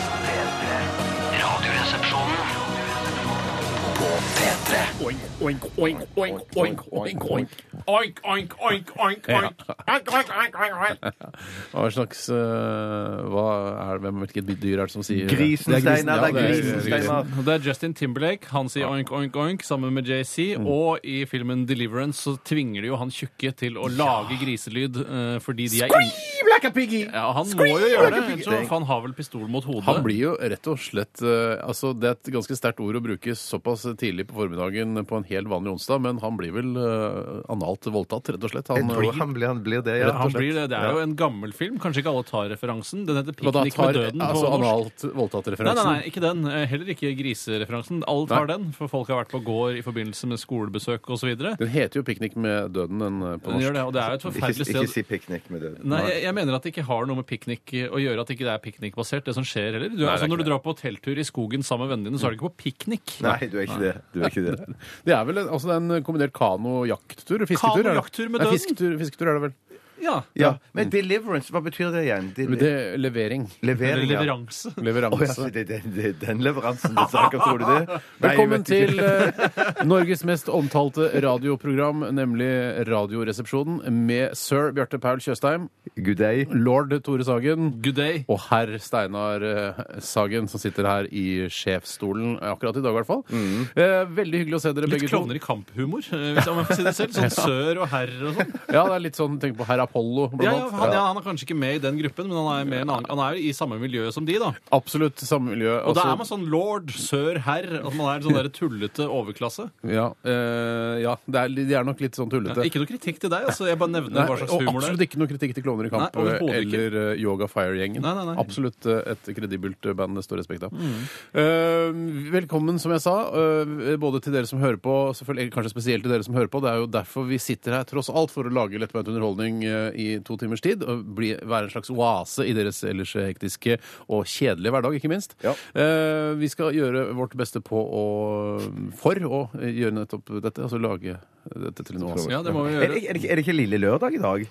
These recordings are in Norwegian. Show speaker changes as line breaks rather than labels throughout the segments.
P3. Radioresepsjonen på P3.
Oink, oink, oink, oink, oink, oink, oink. Oink, oink, oink, oink, oink. Oink, oink, oink, oink, oink.
Hva slags eh, hva er det, hvem, Hvilket dyr er det som sier det?
Grisen,
Det er grisen, ja,
Steinar. Det er grisen, Steinar.
Og Det er Justin Timberlake. Han sier oink, oink, oink sammen med JC.
Mm.
Og i filmen Deliverance så tvinger de jo han tjukke til å lage griselyd eh, fordi de er in...
Black a piggy!
Ja, han må jo gjøre det, ellers så for han har vel pistol mot hodet.
Han blir jo rett og slett eh, altså Det er et ganske sterkt ord å bruke såpass tidlig på formiddagen på en helt vanlig onsdag, men han blir vel eh, analt voldtatt, rett og slett. Han,
Jeg tror han blir, han blir det,
Rett
ja.
og
Han blir det. Det er jo en gammel film. Kanskje ikke alle tar referansen. Den heter
Hva da,
'Piknik
tar,
med døden' på
altså,
norsk.
analt
Nei, nei,
voldtatt-referansen?
nei, ikke den. Eh, Heller ikke grisereferansen. Alle tar
Nei.
den, for folk har vært på gård i forbindelse med skolebesøk osv.
Den heter jo 'Piknik med døden' den, eh, på
Den gjør
norsk.
det, og det er jo et
Ikke,
forferdelig
ikke
sted.
si piknik med døden.
Nei, jeg, jeg mener at det ikke har noe med piknik eh, å gjøre, at ikke det er piknikbasert, det som skjer heller. Du, altså,
ikke
når du drar på hotelltur i skogen sammen med vennene dine, så er du ikke på piknik.
Nei, du er ikke det. Du er ikke det.
Det er vel en, altså, det er en kombinert kano-jakttur? Fisketur? er det?
Kano-jakttur med
Nei,
døden?
fisketur, fisketur er det vel.
Ja.
Ja, Men deliverance, hva betyr det igjen? Del-
Men det er levering.
Levering,
Eller
ja.
leveranse.
Leveranse.
Å, ja, så det, det, det, den leveransen det snakker, tror du det? Nei, jeg
Velkommen
vet ikke.
til eh, Norges mest omtalte radioprogram, nemlig Radioresepsjonen, med sir Bjarte Paul Tjøstheim,
Good day.
lord Tore Sagen
Good day.
og herr Steinar eh, Sagen, som sitter her i sjefsstolen eh, akkurat i dag, i hvert fall.
Mm.
Eh, veldig hyggelig å se dere
Litt
begge
klovner i kamphumor, eh, hvis man får si det selv. Sånn sør og herr og sånn.
to. Ja, det er litt sånn, Tenk på herr Apollo, blant
Ja, ja,
annet.
han, ja, han er kanskje ikke med i den gruppen, men han er, med i en annen, han er jo i samme miljø som de, da.
Absolutt samme miljø.
Og da
altså-
er man sånn lord, sør, herr. At man er sånn der tullete overklasse.
ja, eh, ja det er, li- de er nok litt sånn tullete.
Ikke noe kritikk til deg, altså. Jeg bare nevner
Nei,
hva slags
og
humor
absolutt
det er.
ikke noe kritikk til Klovner i kamp
Nei, overhodet ikke.
eller eh, Yoga Fire-gjengen.
Nei, Mm. nei, nei.
Absolutt eh, et kredibelt eh, band det står respekt av. Eh, velkommen, som jeg sa, eh, både til dere som hører på, selvfølgelig, eller kanskje spesielt til dere som hører på. Det er jo derfor vi sitter her, tross alt, for å lage lettbeint underholdning eh, i to timers tid. Og bli, være en slags oase i deres ellers hektiske og kjedelige hverdag, ikke minst.
Ja.
Eh, vi skal gjøre vårt beste på å, for å eh, gjøre nettopp dette, altså lage dette til en oase.
Ja, det må vi
Er
gjøre.
det, er, det, er det ikke Lille Lørdag i dag?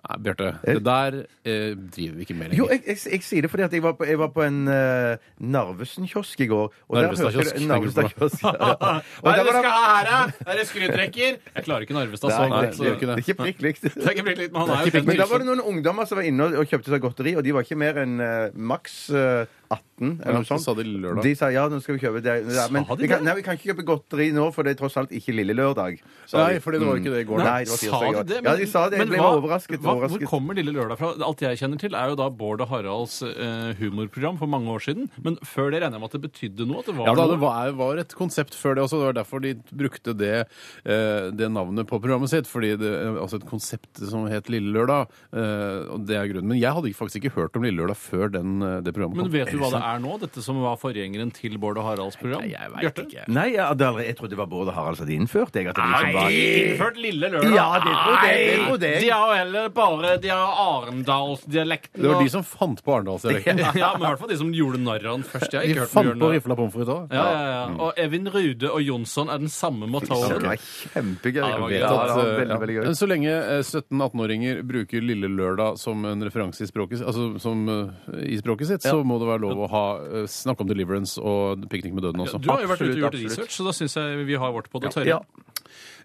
Nei, Bjarte, det der eh, driver vi ikke med lenger.
Jo, jeg, jeg, jeg sier det fordi at jeg var på, jeg var på en eh, Narvesen-kiosk i går. og der
Narvestad-kiosk,
hørte det-
tenker du på?
Narvestad-kiosk. Ja, ja. Og
Hva
der
er det du
var det-
skal ha her, da? Er det skrutrekker? Jeg klarer ikke Narvestad
Nei,
sånn.
nei,
det gjør
så-
ikke det.
det er ikke prikk likt.
Det er ikke blitt litt, men han er jo
Det er ikke
Men
fint
da var det noen ungdommer som var inne og- og kjøpte seg godteri, og de var ikke mer enn eh, maks eh, 18
Ja,
eller noe
så
sånt.
sa de Lille Lørdag.
De sa ja, nå skal vi kjøpe det. Ja, men
Sa de
vi kan,
det?
nei, vi kan ikke kjøpe godteri nå, for det er tross alt ikke lille lørdag. sa
Nei,
de.
fordi det var ikke
sånn-
det i går.
Nei, det var tirsdag i går.
Men-
Ja, de sa det. Jeg
men
ble
hva-
overrasket.
hva-
overrasket.
Hvor kommer Lille Lørdag fra? Alt jeg kjenner til, er jo da Bård og Haralds eh, humorprogram for mange år siden. Men før det regner jeg med at det betydde noe? At det var
Ja, da,
noe.
det var, var et konsept før det også. Det var derfor de brukte det, eh, det navnet på programmet sitt. Fordi det altså et konsept som het Lille Lørdag. Eh, og det er grunnen. Men jeg hadde faktisk ikke hørt om Lille Lørdag før den, eh, det programmet
Men
kom.
vet du hva det er nå? Dette som var forgjengeren til Bård og Haralds program?
Nei, jeg vet
Bjarte?
ikke.
Nei, ja, det er allerede- jeg trodde det var Bård og Harald som hadde innført det. At det liksom var...
Innført Lille Lørdag?
Ja, det trodde jeg, det
Nei,
trodde jeg.
De har jo heller bare de har Arendalsdialekten.
Det var
og-
de som fant på Arendalsdialekten.
Ja, men i hvert fall de som gjorde narr av den først. Jeg har
De
ikke hørt om
fant
Bjørn
på
Lørdag.
rifla pommes frites òg.
Ja, ja, ja. Og Evin Rude og Jonsson er den samme
Ja,
motoren.
Det var kjempegøy.
Ja, det var gøy.
vet
Ja,
at,
det var
eh,
veldig,
ja.
veldig gøy.
Men så lenge eh, 17-18-åringer bruker Lille Lørdag som en referanse i språket, altså som, eh, i språket sitt, så må det være lov å ha, eh, snakke om deliverance og piknik med døden også.
Du har jo vært ute og gjort
Absolutt, absolutt.
research, så da syns jeg vi har vårt på det tørre.
Ja.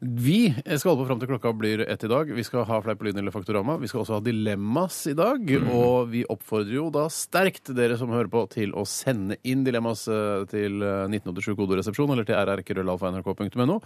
Vi skal holde på fram til klokka blir ett i dag. Vi skal ha Fleip og lyn eller Faktorama. Vi skal også ha Dilemmas i dag.
Mm.
Og vi oppfordrer jo da sterkt dere som hører på, til å sende inn dilemmas eh, til eh, 1987 kodoresepsjon eller til rrkrøllalfa.nrk.no.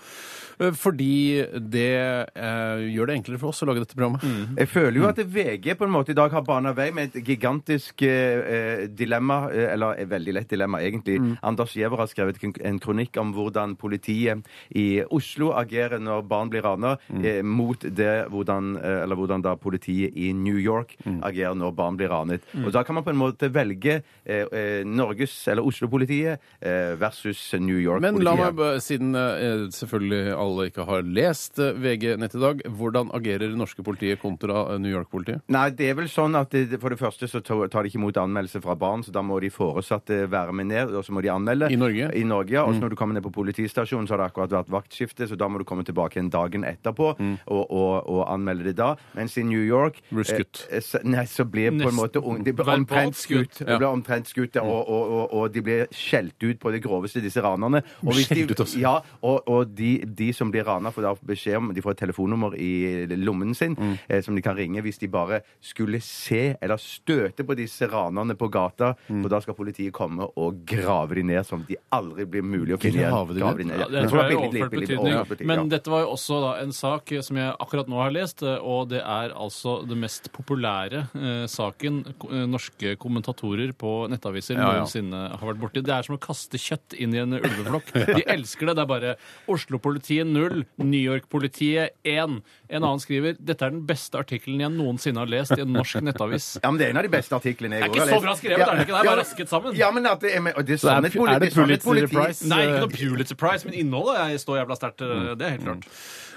eh, Fordi det eh, gjør det enklere for oss å lage dette programmet.
Jeg føler jo at VG på en måte i dag har bana vei med et gigantisk eh, eh, dilemma, eh, eller et veldig lett dilemma egentlig.
Mm.
Anders Giæver har skrevet kun- en kronikk om hvordan politiet i Oslo agerer når barn blir rana,
Mm.
eh, mot det hvordan, eh, eller hvordan da politiet i New York
Mm.
agerer når barn blir ranet. Og da kan man på en måte velge eh, eh, Norges, eller Oslo-politiet eh, versus New York-politiet.
Men la meg, bare- siden eh, selvfølgelig alle ikke har lest eh, VG nett i dag, hvordan agerer norske politiet kontra eh, New York-politiet?
Nei, det er vel sånn at det, for det første så to- tar de ikke imot anmeldelse fra barn, så da må de foresatte være med ned, og så må de anmelde.
I Norge? Mm.
I Norge, ja. Og så når du kommer ned på politistasjonen, så har det akkurat vært vaktskifte, så da må du komme tilbake igjen dagen etterpå
Mm.
og, og, og anmelde det da. Mens i New York
Blir skutt.
eh, s- Nei, så blir på en
Nesten.
måte ung- De blir
Verbalt
omtrent
skutt.
skutt. De blir omtrent skutt ja, og, og, og, og de blir skjelt ut på det groveste, disse ranerne. Og
Skjelt ut, altså.
ja, og, og de, de som blir rana, får da beskjed om De får et telefonnummer i lommen sin
Mm.
eh, som de kan ringe hvis de bare skulle se eller støte på disse ranerne på gata.
Mm.
For da skal politiet komme og grave de ned som de aldri blir mulig å finne igjen.
Grave de ned?
Ja,
ja.
det
Men
tror jeg er
billig, billig,
overført
billig, overført
betydning.
betydning, ja.
Men dette var jo også da en sak eh, som jeg akkurat nå har lest, eh, og det er altså det mest populære eh, saken ko- eh, norske kommentatorer på nettaviser
Ja, ja.
noensinne har vært borti. Det er som å kaste kjøtt inn i en ulveflokk. De elsker det. Det er bare Oslo-politiet null, New York-politiet én. En annen skriver dette er den beste artikkelen jeg noensinne har lest i en norsk nettavis.
Ja, men Det er en av de beste artiklene jeg
Det er ikke
også har
så
lest.
bra skrevet, er det ikke? Det er bare rasket sammen.
Ja, men at det er, og det er,
er
sånn
det
et politi-
Pulitzer
sånn et politi-
Prize?
Nei, ikke noe Pulitzer Prize, men innholdet er- står jævla sterkt. eh, Det er helt klart.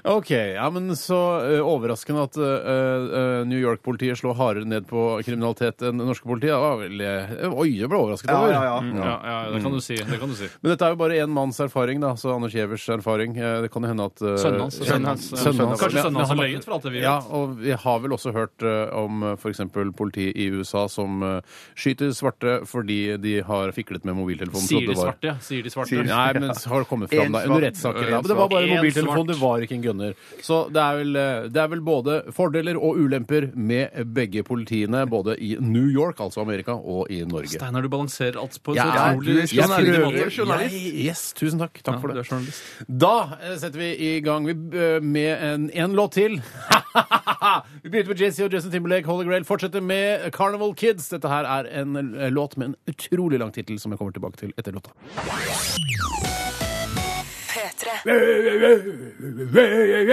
Ok, ja, men Så eh, overraskende at eh, eh, New York-politiet slår hardere ned på kriminalitet enn det norske politiet. Ja, vel, eh, oi, jeg ble overrasket
Ja,
over.
ja, ja.
Ja, ja, det kan du si. Det kan du si.
Men dette er jo bare én manns erfaring, da, så Anders Gjevers erfaring. Eh, Det kan jo hende at eh,
Sønnen hans.
Sønnen hans.
Sønnen hans.
Kanskje sønnen hans har
Men-
løyet for alt det vi
Ja,
vet.
og vi har vel også hørt eh, om f.eks. politi i USA som eh, skyter svarte fordi de har fiklet med mobiltelefonen. så
Sier de
det var-
svarte? ja. Sier de svarte?
Sier de-
Ja.
Nei, men så har det kommet fram
En
da,
svart.
under rettssaker.
En
Ja, men det var bare
svart.
en
En
mobiltelefon,
svart.
det var ikke en gunner. Så det er, vel, eh, det er vel både fordeler og ulemper med begge politiene, både i New York, altså Amerika, og i Norge.
Steinar, du balanserer alt på en
Ja,
så
du er
utrolig
journalist.
snill
Du er
måte.
journalist.
Jeg- Yes, tusen takk. Takk for
Du
det.
er journalist.
Da eh, setter vi i gang vi, eh, med en, en låt til. vi begynte med JC og Justin Timberlake, Holy Grail. Fortsetter med Carnival Kids. Dette her er en eh, låt med en utrolig lang tittel, som jeg kommer tilbake til etter låta.
P3.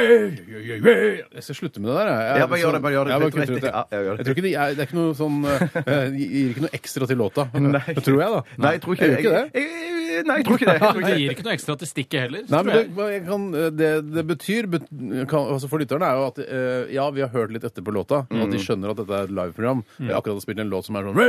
Jeg skal slutte med det der. Jeg,
Ja, bare gjør det, bare gjør det.
Jeg, bare
Rett, rett,
kutter ut det.
ja, ja, gjør det.
jeg tror ikke det, jeg, det er ikke noe sånn eh, Gir ikke noe ekstra til låta. Det tror jeg, da.
Nei, jeg tror ikke
gjør ikke det.
Jeg, jeg, nei, jeg tror ikke det. Jeg
Det
tror ikke det.
gir ikke noe ekstra til stikket heller.
Nei,
tror
men det,
jeg.
men jeg kan, eh, det, det betyr bet, kan, altså For lytterne er jo at eh, ja, vi har hørt litt etter på låta, og
Mm.
at de skjønner at dette er et liveprogram. Vi har akkurat spilt en låt som er sånn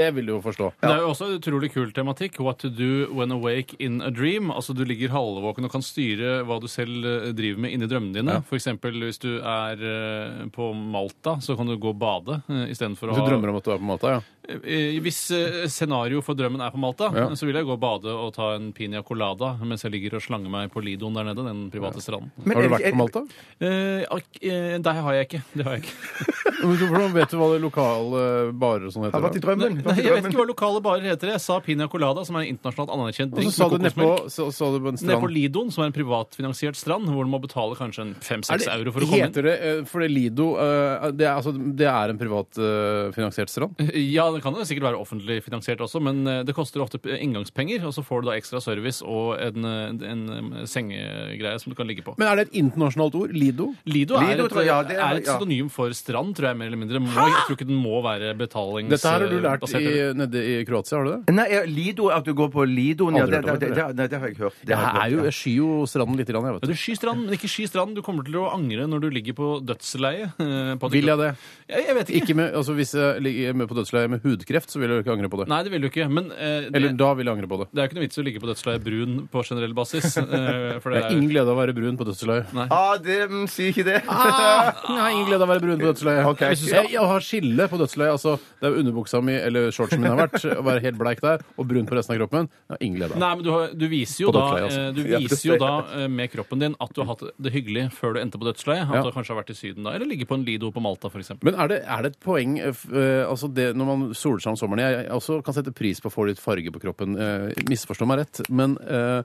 Det vil de jo forstå.
Men Det er jo også en utrolig kul tematikk. What to do when awake in a dream. Altså Du ligger halvvåken og kan styre hva du selv eh, driver med inni drømmene dine. For eksempel hvis du er eh, på Malta, så kan du gå og bade eh, istedenfor å
Hvis du
ha
drømmer om at du er på Malta, ja.
Eh, Hvis eh, scenario for drømmen er på Malta,
Ja.
så vil jeg gå og bade og ta en piña colada mens jeg ligger og slanger meg på Lidoen der nede, den private stranden.
Men
Har
er
du
det
vært
ikke-
på Malta?
Eh, ak- eh, det har jeg ikke. Det har jeg ikke.
Men så Hvordan vet du hva det lokale barer og sånn
Har
heter?
vært i
da?
drømmen.
Nei, jeg vet ikke hva lokale barer heter. Jeg sa piña colada, som er en internasjonalt anerkjent
Og så
drink
sa du
med
nedpå
kokosmelk.
så, sa du på en
Nede på
strand
Lidoen, som er en privatfinansiert strand, hvor du må betale kanskje en
Er det-
5-6 euro for å komme
Heter det eh, For det Lido eh, det er, altså, det er en privat eh, finansiert strand?
inn. Ja, det kan jo sikkert være offentlig finansiert også, men eh, det koster ofte p- inngangspenger, og så får du da ekstra service og en, eh, en eh, sengegreie som du kan ligge på.
Men er det et internasjonalt ord? Lido?
Lido er,
Lido,
et,
tror jeg, ja, det er-
er et
ja.
synonym for strand, tror jeg, mer eller mindre. Må, jeg tror ikke den må være betalingsbasert.
Dette her har du lært i, nede i Kroatia, har du det?
Nei, er Lido, at du går på Lidoen ja,
Aldri
det,
hørt om
det, det,
det.
det, nei, det har jeg ikke hørt. Det har
Jeg er
jeg
jo,
ikke hørt,
jeg skyr jo stranden litt, jeg vet
Ja, du sky strand, men ikke sky strand. Du kommer til å angre når du ligger på dødsleiet. eh, på
du. Vil jeg det?
Jeg, jeg vet ikke.
Ikke med, altså Hvis jeg ligger med på dødsleiet med hudkreft, så vil jeg ikke angre på det.
Nei, det vil du ikke. Men eh, det,
Eller da vil jeg angre på det.
det er jo ikke noe vits i å ligge på dødsleiet brun på generell basis. eh, for det
Jeg har
er
ingen glede av å være brun på dødsleiet.
ja. Ah, det mm, sier ikke det.
Ah, Jeg har ingen glede av å være brun på dødsleiet.
Ok.
Jeg, jeg, har skille på dødsleiet. Altså, det er jo underbuksa mi eller shortsen min har vært. Å være helt bleik der og brun på resten av kroppen. Jeg har ingen glede av
Nei, men du, har, du viser jo
På
da,
dødsleiet, altså.
eh, du
Ja,
viser jo da
dødsleiet.
eh, med kroppen din at du har hatt det hyggelig før du endte på dødsleiet. At
Ja.
du kanskje har vært i Syden da, eller ligger på en Lido på Malta f.eks.
Men er det, er det et poeng eh, f- eh, altså det, Når man soler seg om sommeren Jeg, jeg også kan sette pris på å få litt farge på kroppen. Eh, misforstå meg rett, men eh,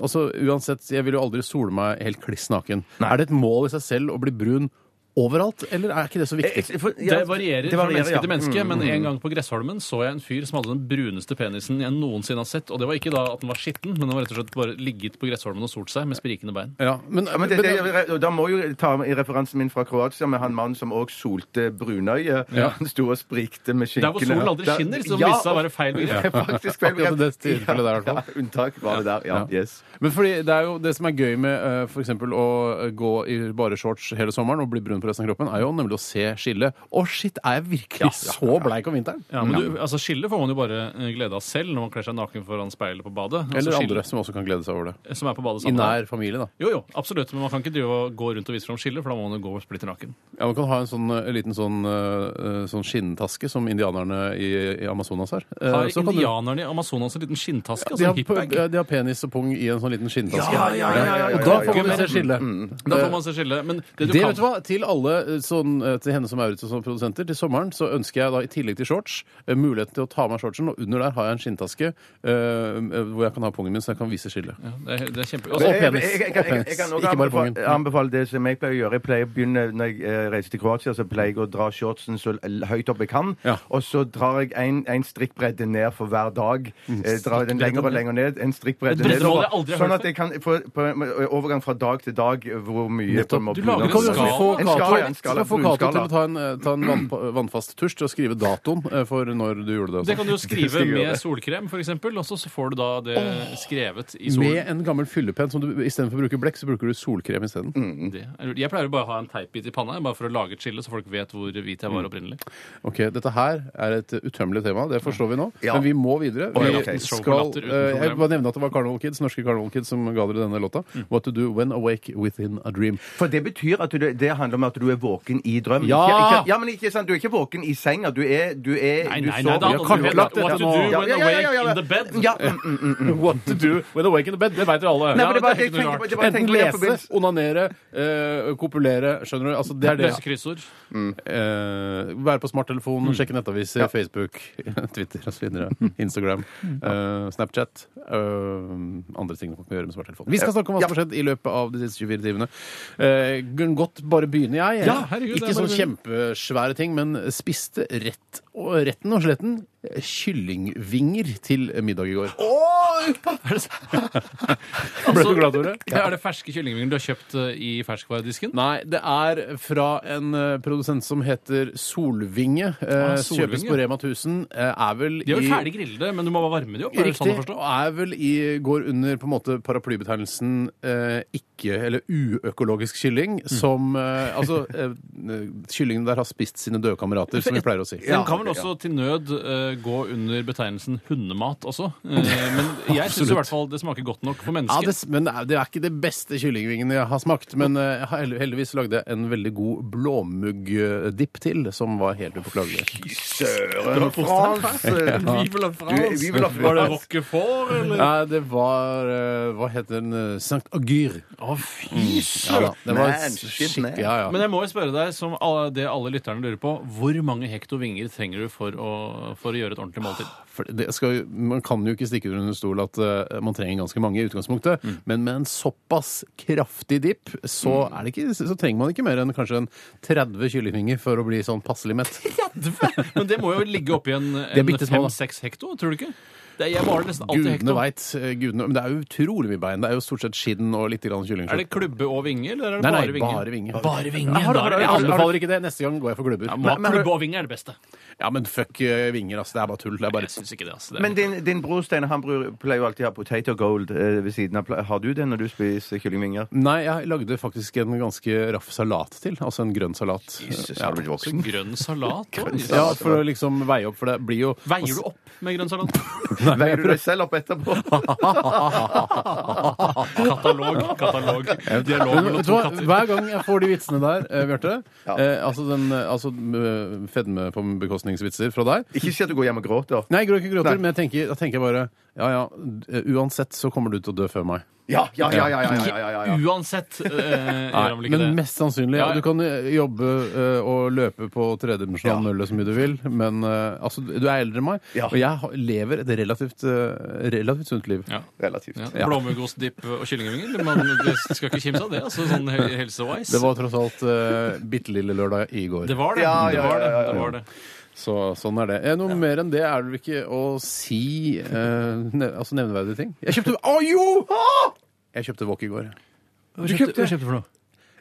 altså, uansett, jeg vil jo aldri sole meg helt kliss naken. Er det et mål i seg selv å bli brun overalt, eller er ikke det så viktig?
Jeg- Eh, for- ja, altså,
Det varierer
det
fra menneske
ja. Mm,
til menneske, men en gang på Gressholmen så jeg en fyr som hadde den bruneste penisen jeg noensinne har sett. Og det var ikke da at den var skitten, men den var rett og slett bare ligget på Gressholmen og solt seg med sprikende bein.
Ja, men,
Ja, men det, det, og da må jeg jo ta i referansen min fra Kroatia med han mannen som òg solte brunøye.
Ja.
Han sto og sprikte med
Der
skinkene.
hvor solen aldri
Der-
skinner, som
Ja,
viste seg å være feil begrep.
Det er faktisk feil
Akkurat det tilfellet der, i hvert fall.
Ja, ja, unntak var det der. Ja, yes.
Men fordi det er jo det som er gøy med eh, for eksempel å eh, gå i bare shorts hele sommeren og bli brun på resten av kroppen, er jo nemlig å se skillet. Å, shit, er jeg virkelig så bleik om vinteren?
Ja, men du, altså Skille får man jo bare eh, glede av selv når man kler seg naken foran speilet på badet. Altså,
Eller
skille-
andre som også kan glede seg over det.
Som er på badet
I
sammen.
nær familie, da.
Jo, jo, absolutt. Men man kan ikke drive og gå rundt og vise fram skille, for da må man jo gå splitter naken.
Ja, Man kan ha en sånn, eh, liten sånn, eh, sånn skinntaske som indianerne i, i Amazonas har. Eh,
Har
så kan du-
indianerne i Amazonas en liten skinntaske?
de,
altså en
har,
hipbag?
ja, de har penis og pung i en sånn liten skinntaske.
Ja, ja, ja, ja, ja,
Og da
ja, ja,
får
ja.
man se skillet.
Da får man se skille. Men det du
Det,
kan
vet du hva, Til alle eh, sånn, eh, til henne som er ute som produsenter, til sommeren så ønsker jeg da i tillegg til shorts eh, muligheten til å ta av meg shortsen, og under der har jeg en skinntaske eh, eh, hvor jeg kan ha pungen min, så jeg kan vise skillet.
Ja, det er, det er kjempe...
Og
Altså,
Jeg- jeg-
penis.
jeg- jeg-
Og
jeg- jeg- jeg kan
penis.
også
Ikke bare pungen.
anbefale-
Mm.
Anbefale det som jeg pleier å gjøre. Jeg pleier å begynne Når jeg eh, reiser til Kroatia, så pleier jeg å dra shortsen så l- høyt opp jeg kan.
Ja.
Og så drar jeg en, en strikkbredde ned for hver dag.
Mm.
Eh, drar den lenger og lenger ned. En
Et
strikkbredde
breddemål
nedover.
jeg aldri har hørt
Sånn at jeg kan få på, en overgang fra dag til dag eh, hvor mye
Nettopp.
på en måte-
Du lager
Du kan jo
en
sånn også
skala.
få
En
Cato
skala, ja, en skala,
du kan få
brun
Cato
skala.
til å ta en, eh, ta en vann, vannfast tusj til å skrive datoen eh, for når du gjorde
det
det.
kan du jo skrive
jeg
med
gjøre.
solkrem, for eksempel, og så så får du da det skrevet i
Altså.
solen.
Med en gammel fyllepenn. som du- Istedenfor å bruke blekk, så bruker du solkrem isteden.
Det er lurt. Jeg pleier å bare ha en teipbit i panna bare for å lage et skille, så folk vet hvor hvit jeg
Mm.
var opprinnelig.
Ok, Dette her er et utømmelig tema, det forstår vi nå.
Ja.
Men vi må videre.
Oi,
Vi
ok.
Show på
skal,
latter uten
eh, jeg
problem.
vil bare nevne at det var Carnival Kids, norske Carnival Kids som ga dere denne låta. What to do when awake within a dream.
For det betyr at du, det handler om at du er våken i drømmen.
Ja!
Ikke, ikke, ja, men ikke sant, Du er ikke våken i senga. Du er du er,
Nei,
du
nei, nei,
sover.
da
Ja,
hadde
kan
du
klart
vært- what
dette
to do
nå. Ja,
when
ja, ja, ja,
awake
ja.
in the bed.
Ja, mm, mm, mm.
What to do when awake in the bed, det veit jo alle.
Nei, men det var-
det er
jeg
ikke noe
tenker på-
rart.
det var- jeg
Enten
tenker på det på
lese,
begynnelsen.
onanere, eh, kopulere. Skjønner du? Altså, det er det.
Løse kryssord.
Eh, være på smarttelefon,
Mm.
sjekke nettaviser, Facebook, Twitter osv. Instagram,
Mm.
eh, Snapchat. eh, andre ting man kan gjøre med smarttelefon. Vi skal snakke om hva som har skjedd i løpet av de siste 24 timene. Eh, kan godt bare begynne, jeg.
Ja, herregud, det
Ikke
er bare
sånn kjempesvære ting, men spiste rett og retten og sletten eh, kyllingvinger til middag i går. Ble
altså-
du glad, Tore?
Det er det ferske kyllingvingene du har kjøpt eh, i ferskvaredisken?
Nei, det er fra en eh, produsent som heter Solvinge. Eh,
Ah, Solvinge.
Kjøpes på Rema 1000. Eh, er vel
De er vel
i
ferdig grillede, men du må bare varme de opp. Er det
Riktig.
sånn å forstå?
og er vel i, går under på en måte paraplybetegnelsen eh, ikke, eller uøkologisk kylling,
Mm.
som eh, Altså, eh, kyllingene der har spist sine døde kamerater, som vi pleier å si.
Den kan vel også til nød eh, gå under betegnelsen hundemat også. Eh, men jeg syns i hvert fall det smaker godt nok for
Ja,
mennesker.
det, men det er- det er ikke de beste kyllingvingene jeg har smakt. Men eh, jeg har hell- heldigvis lagde jeg en veldig god blåmuggdipp til, som var helt upåklagelig.
Søren, Frans!
vil ha
altså.
Du, vi vil ha
Var det
Frans.
roquefort, eller?
Nei, det var eh, Hva heter den? eh, Sankt Agyr.
Å, fy
Ja, da. Det var
Man, shit, man.
skikkelig ja, ja.
Men jeg må jo spørre deg, som alle, det alle lytterne lurer på, hvor mange hekto vinger trenger du for å, for å gjøre et ordentlig måltid?
For det skal, jo- man kan jo ikke stikke under en stol at eh, man trenger ganske mange i utgangspunktet,
Mm.
men med en såpass kraftig dipp, så, er det ikke, så trenger man ikke mer enn kanskje en 30 kyllingvinger for å bli sånn passelig mett.
Men det må jo ligge oppi en,
er
en
bittesmå, da.
fem-seks hekto, tror du ikke? Det, jeg maler nesten alltid
Gudene
hekto.
veit. Gudene, men det er jo utrolig mye bein. Det er jo stort sett skinn og litt grann
Er
kyllingskjøtt.
det klubbe og vinge, eller er det
Nei, nei,
bare vinge?
bare vinge.
Bare vinge.
Jeg
da er det-
anbefaler ikke det. Neste gang går jeg for klubber.
Ja, må
Men-
ha klubbe og vinge er det beste.
Ja, men fuck eh, vinger, ass. Det er bare tull. Det er bare
Jeg syns ikke det, altså. Det er-
Men din, din bror Steinar han bror, pleier jo alltid å ha potato gold eh, ved siden av. Ple- Har du det når du spiser kyllingvinger?
Nei, jeg lagde faktisk en ganske raff salat til. Altså en grønn salat.
har du blitt
Så
voksen?
grønn salat. Oi.
Ja, for å liksom veie opp, for det blir jo
Veier du opp med grønn salat?
Veier du deg selv opp etterpå?
Katalog, katalog. Dialog
Men,
mellom
vet du
to
hva?
katter.
Hver gang jeg får de vitsene der, eh, Bjarte eh, Altså, den, eh, altså eh, fedme på bekostningsvitser fra deg
Ikke si at du går hjem og gråter.
Nei, jeg gråter ikke gråter,
Nei.
men jeg tenker, da tenker jeg bare Ja ja, d- eh, uansett så kommer du til å dø før meg.
Ja, ja, ja, ja, ja, ja, ja, ja.
Uansett eh,
Nei,
gjør han vel ikke
men
det.
mest sannsynlig.
Ja, ja.
Du kan eh, jobbe eh, og løpe på tredimensjonal
Ja.
mølle så mye du vil, men eh, altså, du er eldre enn meg,
Ja.
og jeg har- lever et relativt, eh, relativt sunt liv.
Ja.
Relativt.
Ja. Blåmuggostdipp og kyllingvinger. Man det skal ikke kimse av det, altså, sånn he- helse-wise.
Det var tross alt uh, bitte lille lørdag i går.
det var det.
Ja,
det,
ja,
var det.
ja, ja,
det, var det.
Så sånn er det. Eh, Noe mer enn det er det vel ikke å si eh, ne altså nevneverdige ting. Jeg kjøpte Å jo! Ah! Jeg kjøpte wok i går.
Hva kjøpte, hva kjøpte du for noe?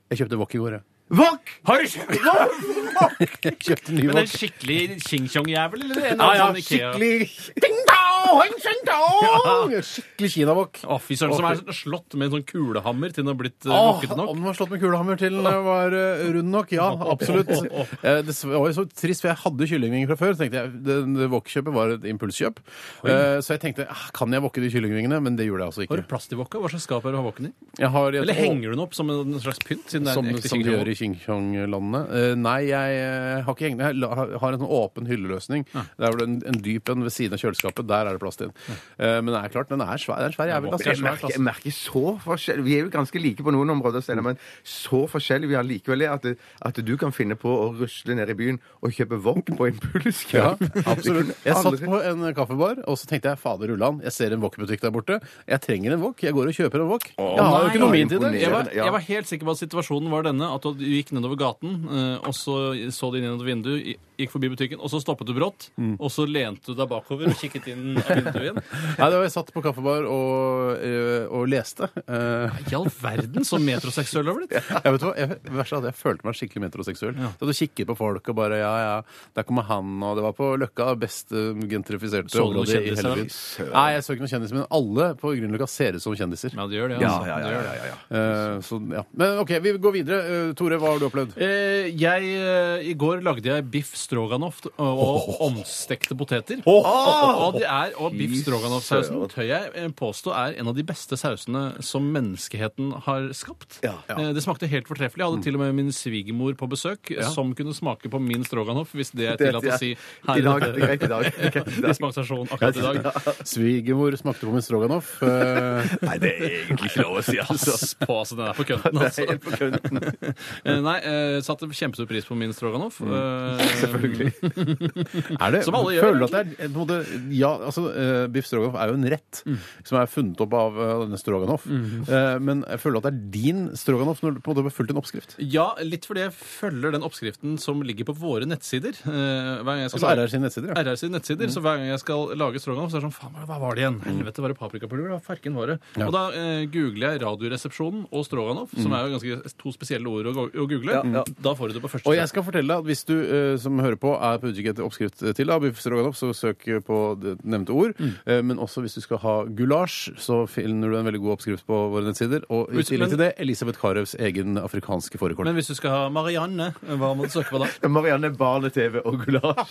Jeg kjøpte wok i går, jeg.
Våk!
Har du kjøpt
jeg. Kjøpte ny
Men en
wok.
skikkelig ching-chong-jævel, eller? En
Ah, Ja, ja,
sånn Ikea-
skikkelig Ding dong! Hensentong! Skikkelig kinavåk.
Å, fy søren, som er slått med en sånn kulehammer til den har blitt uh,
Åh,
våknet nok.
Om den var slått med kulehammer til den var eh, rund nok? Ja, absolutt. Eh, Det var jo så trist, for jeg hadde kyllingvinger fra før. så tenkte jeg, det, det Wokkjøpet var et impulskjøp. Eh, Så jeg tenkte ah, kan jeg wokke de kyllingvingene? Men det gjorde jeg altså
Har du
ikke.
plast i vokka? Hva slags skap er det du har våken i?
Jeg har,
Eller henger du den opp som en slags pynt? Siden det er
som,
en ekte
som de gjør i
kinavåk?
Xinjiang-landene. Eh, nei, jeg eh, har ikke hengende. Jeg la- har- har en sånn åpen hylleløsning. Der hvor det er en, en dyp en ved siden av kjøleskapet. Der er det plass til den. Eh, men det er klart, den er svær. Det er en svær jævel.
Jeg merker, jeg
Altså.
merker så forskjell Vi er jo ganske like på noen områder, Steinar, men så forskjellige vi allikevel er, at, det- at du kan finne på å rusle ned i byen og kjøpe wok på
Ja,
impulskjøp.
absolutt. Jeg satt på en kaffebar, og så tenkte jeg fader ullan, jeg ser en wok-butikk der borte. Jeg trenger en wok. Jeg går og kjøper en wok. Jeg har jo
nei,
økonomi til det.
imponerende.
Jeg var,
Ja.
jeg var helt sikker på at situasjonen var denne. At du gikk nedover gaten, eh, og så så du inn gjennom et vindu, i- gikk forbi butikken, og så stoppet du brått.
Mm.
Og så lente du deg bakover og kikket inn av vinduet igjen.
Nei, det var jeg satt på kaffebar og, eh, og leste. Eh,
I all verden, så metroseksuell du har blitt!
Jeg vet hva, jeg, det verste er at jeg følte meg skikkelig metroseksuell. Så du kikket på folk og bare ja, ja, der kommer han, og det var på Løkka, best eh, gentrifiserte
Så du noen
område i hele
kjendiser,
byen. Nei, jeg så ikke noen kjendiser, men alle på Grünerløkka ser ut som kjendiser.
Ja, det gjør det.
Ja,
altså.
ja, ja,
Det gjør det.
ja, ja, ja.
Eh, så, ja. Men OK, vi går videre. Eh, Tore, hva har du opplevd?
Eh, jeg, eh, I går lagde jeg biff stroganoff og, og omstekte poteter. Og, det er, og biff stroganoff-sausen tør jeg eh, påstå er en av de beste sausene som menneskeheten har skapt. Eh, det smakte helt fortreffelig. Jeg
Mm.
hadde til og med min svigermor på besøk, som kunne smake på min stroganoff, hvis det er tillatt å si
I
her i
dag, det er
dette.
greit i dag. Det er greit i dag.
Det smakte sånn akkurat i dag.
Svigermor smakte på min stroganoff. Eh,
Nei, det er egentlig ikke lov å si, altså.
Pass på, altså. Den er på kønten, altså.
Helt på kønten.
Eh, Nei, eh, satte kjempestor pris på min stroganoff.
Mm.
Eh, Selvfølgelig.
er det,
Som alle gjør,
føler du at det er på en måte, Ja, altså, eh, biff stroganoff er jo en rett
Mm.
som er funnet opp av eh, denne stroganoff. Eh, men jeg føler at det er din stroganoff når du på en måte har fulgt en oppskrift.
Ja, litt fordi jeg følger den oppskriften som ligger på våre nettsider. Eh, Hver gang jeg skal
Altså RR sine nettsider, ja. Mm.
RR sine nettsider, så Hver gang jeg skal lage stroganoff, så er det sånn Faen, hva var det igjen? Helvete, var det paprikapulver? Hva farken var det? Og da eh, googler jeg Radioresepsjonen og stroganoff,
Mm.
som er jo ganske to spesielle ord å, go- å google. Da får du det på første
Og jeg skal fortelle deg at hvis du eh, som hører på er på utkikk etter oppskrift eh, til da, biff stroganoff, så søk på det nevnte ord.
Mm.
Eh, men også hvis du skal ha gulasj, så finner du en veldig god oppskrift på våre nettsider. Og i
Ut- men-
tillegg til det Elisabeth Karevs egen afrikanske fårikål.
Men hvis du skal ha Marianne, eh, hva må du søke på da?
Marianne Barne-TV og gulasj.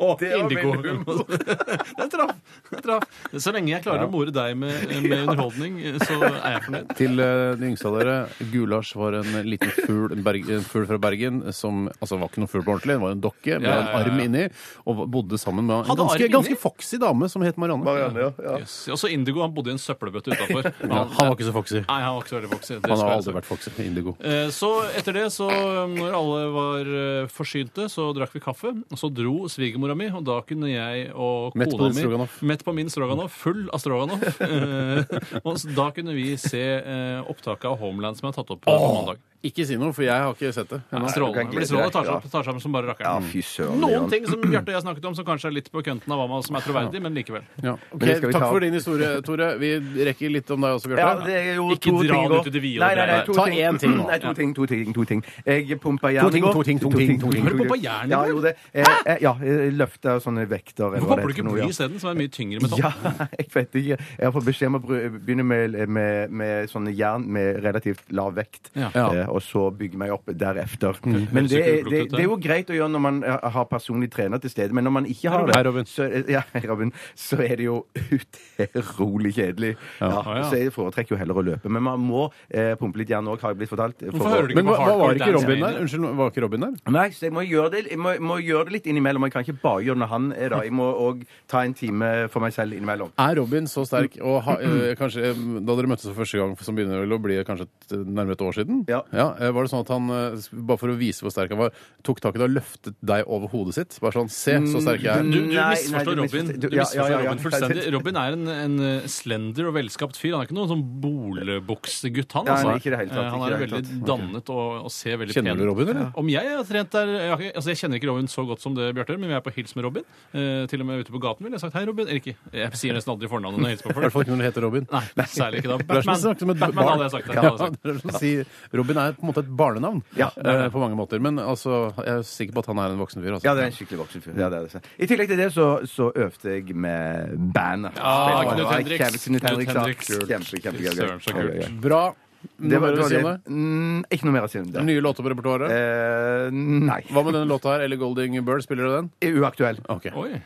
Og
Det var
indigo.
veldig humor.
Den traff. Den traff. Så lenge jeg klarer å more deg med, med underholdning, eh, så er jeg fornøyd.
Til eh, de yngste av dere, gulasj var en liten fugl, en, berg, en fugl fra Bergen som altså var ikke noen fugl på ordentlig, det var en dokke med
Ja, ja, ja, ja.
en arm inni, og bodde sammen med en
Hadde arm
ganske,
inni?
ganske foxy dame som het Marianne.
Marianne, ja. ja.
Yes. Også Indigo han bodde i en søppelbøtte utafor.
Ja, han var ikke så foxy.
Nei, han var ikke så veldig voksen.
Han har aldri vært foxy. Indigo.
Eh, Så etter det, så eh, når alle var eh, forsynte, så drakk vi kaffe. Og så dro svigermora mi, og da kunne jeg og
Mett på
kona
din
mi
stroganoff.
Mett på min stroganoff, full av stroganoff. Eh, Og så da kunne vi se eh, opptaket av Homeland som jeg har tatt opp på mandag.
Ikke si noe, for jeg har ikke sett det. ennå.
kan
Strålende.
glede
Blir strålende, tar
deg,
seg opp, tar seg sammen som bare
Ja,
rakkeren.
fy søren.
Noen
Jan.
ting som Bjarte og jeg snakket om, som kanskje er litt på kønten av hva man- som er troverdig, men likevel.
Ja. ok,
det skal vi
takk
ta.
for din historie, Tore. Vi rekker litt om deg også,
Ja,
Bjarte.
det er jo
Ikke
to
dra
ting
den
også.
ut i det vide og
Nei, nei, nei,
greie.
to
Ta
ting.
én ting nå.
Nei, to ting, to ting, to ting. Jeg pumpa jern
To ting, to ting, to ting, to ting.
Har du pumpet jern i
Ja,
går?
jeg gjorde det. Eh, eh, Ja, jeg løfta sånne vekter. eller
Hvorfor
hva det
popper du ikke
heter for noe,
bly
ja.
isteden, som er mye tyngre metall?
Ja, jeg vet ikke. Jeg har fått beskjed om å bru- begynne med, med, med sånne jern med relativt lav vekt,
Ja.
Eh, og så bygge meg opp deretter. Men det, er- det, det er jo greit å gjøre når man eh, har personlig trener til stede, men når man ikke har det,
Hei, Robin.
Så, ja, hei, Robin, så er det jo utrolig kjedelig. Ja.
Ah, ja.
Så jeg foretrekker jo heller å løpe. Men man må eh, pumpe litt jern òg, har jeg blitt fortalt. eh, For
Hvorfor
å-
hører du ikke
Men hva, hva var
Hardcore
ikke Robin
Dance
der? Unnskyld, var ikke Robin der?
Nei, så jeg må gjøre, det, jeg må, må gjøre det litt innimellom. Jeg kan ikke bare gjøre det når han er der. Jeg må òg ta en time for meg selv innimellom.
Er Robin så sterk og ha, eh, kanskje, eh, Da dere møttes for første gang, som begynner vel å bli kanskje et, eh, nærmere et år siden,
Ja.
eh, var det sånn at han, eh, bare for å vise hvor sterk han var, tok tak i deg og løftet deg over hodet sitt? Bare sånn Se, så sterk jeg
Mm,
er.
Du, du
Nei, nei,
misforstår
du
Robin.
misforstår-
Du
ja,
misforstår
ja, ja, ja.
Robin fullstendig. Robin er en, en eh, slender og velskapt fyr. Han er ikke noen sånn bolebuksgutt, han.
Nei,
Altså.
nei, ikke i det hele tatt,
Eh, han
ikke i
er
det hele
veldig dannet og, og ser veldig
Kjenner
pen
du
ut.
Robin, eller?
Om jeg har trent der jeg, har ikke- altså jeg kjenner ikke Robin så godt som det, Bjarte, men vi er på hils med Robin. Eh, til og med ute på gaten ville jeg sagt hei, Robin. Eller ikke. Jeg sier nesten aldri fornavnet når jeg hilser på
I
folk.
hvert fall ikke når du heter Robin.
Nei, særlig ikke da.
Det er som å
Batman,
snakke som et
Batman
barn.
hadde jeg sagt. det
Ja,
hadde jeg sagt.
det er som å si Robin er er på en måte et barnenavn
Ja.
eh, på mange måter. Men altså, jeg er sikker på at han er en voksen fyr. Altså.
Ja, det er en skikkelig voksen fyr. Ja, det er det. I tillegg til det så, så øvde jeg med bandet.
Ah,
Spilte-
Knut Henriks.
Kjempe- Knut Henriks,
Knut
ja.
Henriks.
Kjempe, kjempe,
Fy søren, så kult.
kjempe.
Bra.
Det
Noe
var
mer å si
det.
om det?
Mm, Ikke noe mer å si om det.
Nye låter på repertoaret?
Eh, nei.
Hva med denne låta her, eller Golding Bird? Spiller du den?
Uaktuell.
Ok.
Oi.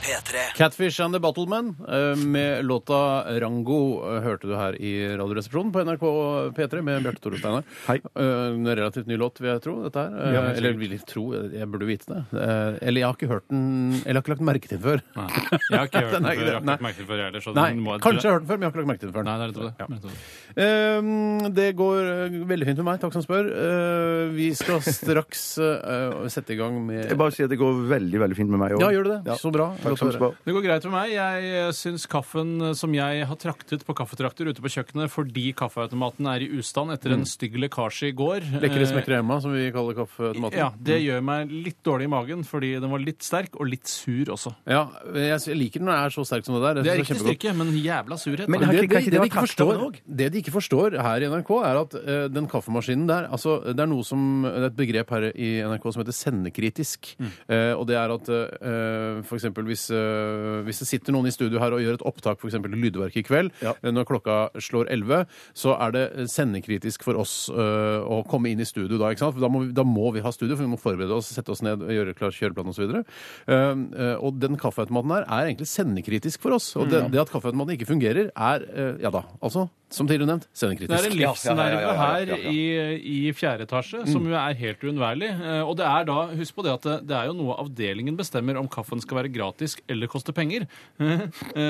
P3.
Catfish and the Battlemen eh, med låta Rango eh, hørte du her i Radioresepsjonen på NRK P3 med Bjarte Tore Steinar.
Hei.
Eh, En relativt ny låt, vil jeg tro. dette her. Eh, eller vil jeg tro, jeg burde vite det. Eh, Eller jeg har ikke hørt den Eller jeg har ikke lagt merke til den før.
Nei. Jeg har ikke hørt den
Den er
før. Jeg har
ikke det.
ikke lagt
Nei.
merke til den før jeg heller. så
Nei,
den må jeg-
kanskje jeg har hørt den før, men jeg har ikke lagt merke til den før.
Nei, det er nettopp det. Nettopp det.
Ehm, Det går eh, veldig fint med meg, takk som spør. Eh, Vi skal straks eh, sette i gang med
Jeg bare sier at det går veldig, veldig fint med meg òg.
Ja, gjør du det? Så bra.
Takk som
Gratulerer.
spør.
Det går greit for meg. Jeg eh, syns kaffen eh, som jeg har traktet på kaffetrakter ute på kjøkkenet fordi kaffeautomaten er i ustand etter en stygg lekkasje i går
Lekre
Eh,
smekkere hjemme, som vi kaller kaffetomaten.
Ja, Det gjør meg litt dårlig i magen fordi den var litt sterk og litt sur også.
Ja, jeg liker den når den er så sterk som det der. Jeg
Det er
synes
riktig
kjempegodt.
styrke, men jævla surhet.
Men
da.
har
Det,
ikke-
det,
kan
det, de
ikke det
ikke
være
forstår,
kaffeautomat
det de ikke forstår her i NRK, er at eh, den kaffemaskinen der altså, Det er noe som, det er et begrep her i NRK som heter sendekritisk.
Mm.
Eh, og det er at eh, for eksempel hvis, eh, hvis det sitter noen i studio her og gjør et opptak for eksempel til Lydverket i kveld, eh, når klokka slår 11, så er det eh, sendekritisk for oss eh, å komme inn i studio da. ikke sant? For da, må vi, da må vi ha studio, for vi må forberede oss, sette oss ned, gjøre klar kjøreplan osv. Uh, og den kaffeautomaten her er egentlig sendekritisk for oss. Og
Mm,
det, det at kaffeautomaten ikke fungerer, er eh, ja da, altså, som tidligere nevnt,
Det er en
sendekritisk.
Ja, ja, ja, ja,
livsnerve
ja, ja,
her
ja, ja.
i, i fjerde etasje som jo er helt uunnværlig. Eh, Og det er da, husk på det at det, det er jo noe avdelingen bestemmer om kaffen skal være gratis eller koste penger. Eh,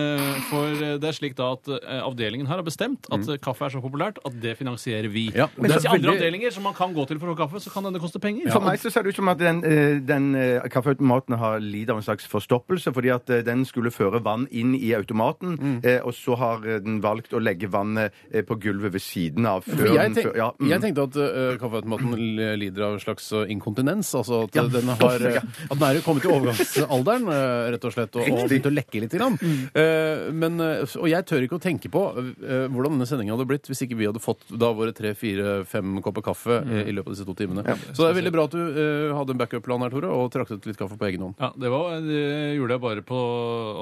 For det er slik da at eh, avdelingen her har bestemt at
Mm.
eh, kaffe er så populært at det finansierer vi.
Ja, og
Mens
det er
i andre
veldig-
avdelinger som man kan gå til for å få kaffe, så kan denne koste penger.
For meg så ser det ut som at den, eh, den eh, kaffeautomaten har lidd av en slags forstoppelse, fordi at eh, den skulle føre vann inn i automaten,
Mm.
eh, og så har eh, den valgt å legge vannet eh, på gulvet ved siden av før
For jeg,
den
tenk,
før- ja, mm.
jeg tenkte at eh, kaffeautomaten l- lider av en slags eh, inkontinens. Altså at eh, den har eh, At den er jo kommet i overgangsalderen, eh, rett og slett, og, og begynt å lekke litt. Grann. Eh, men, eh, og jeg tør ikke å tenke på eh, hvordan denne sendingen hadde blitt hvis ikke vi hadde fått da våre tre-fire-fem kopper kaffe eh, i løpet av disse to timene. Så det er veldig bra at du eh, hadde en backup-plan her, Tore, og traktet litt kaffe på egen hånd.
Ja, det, var, det gjorde jeg bare på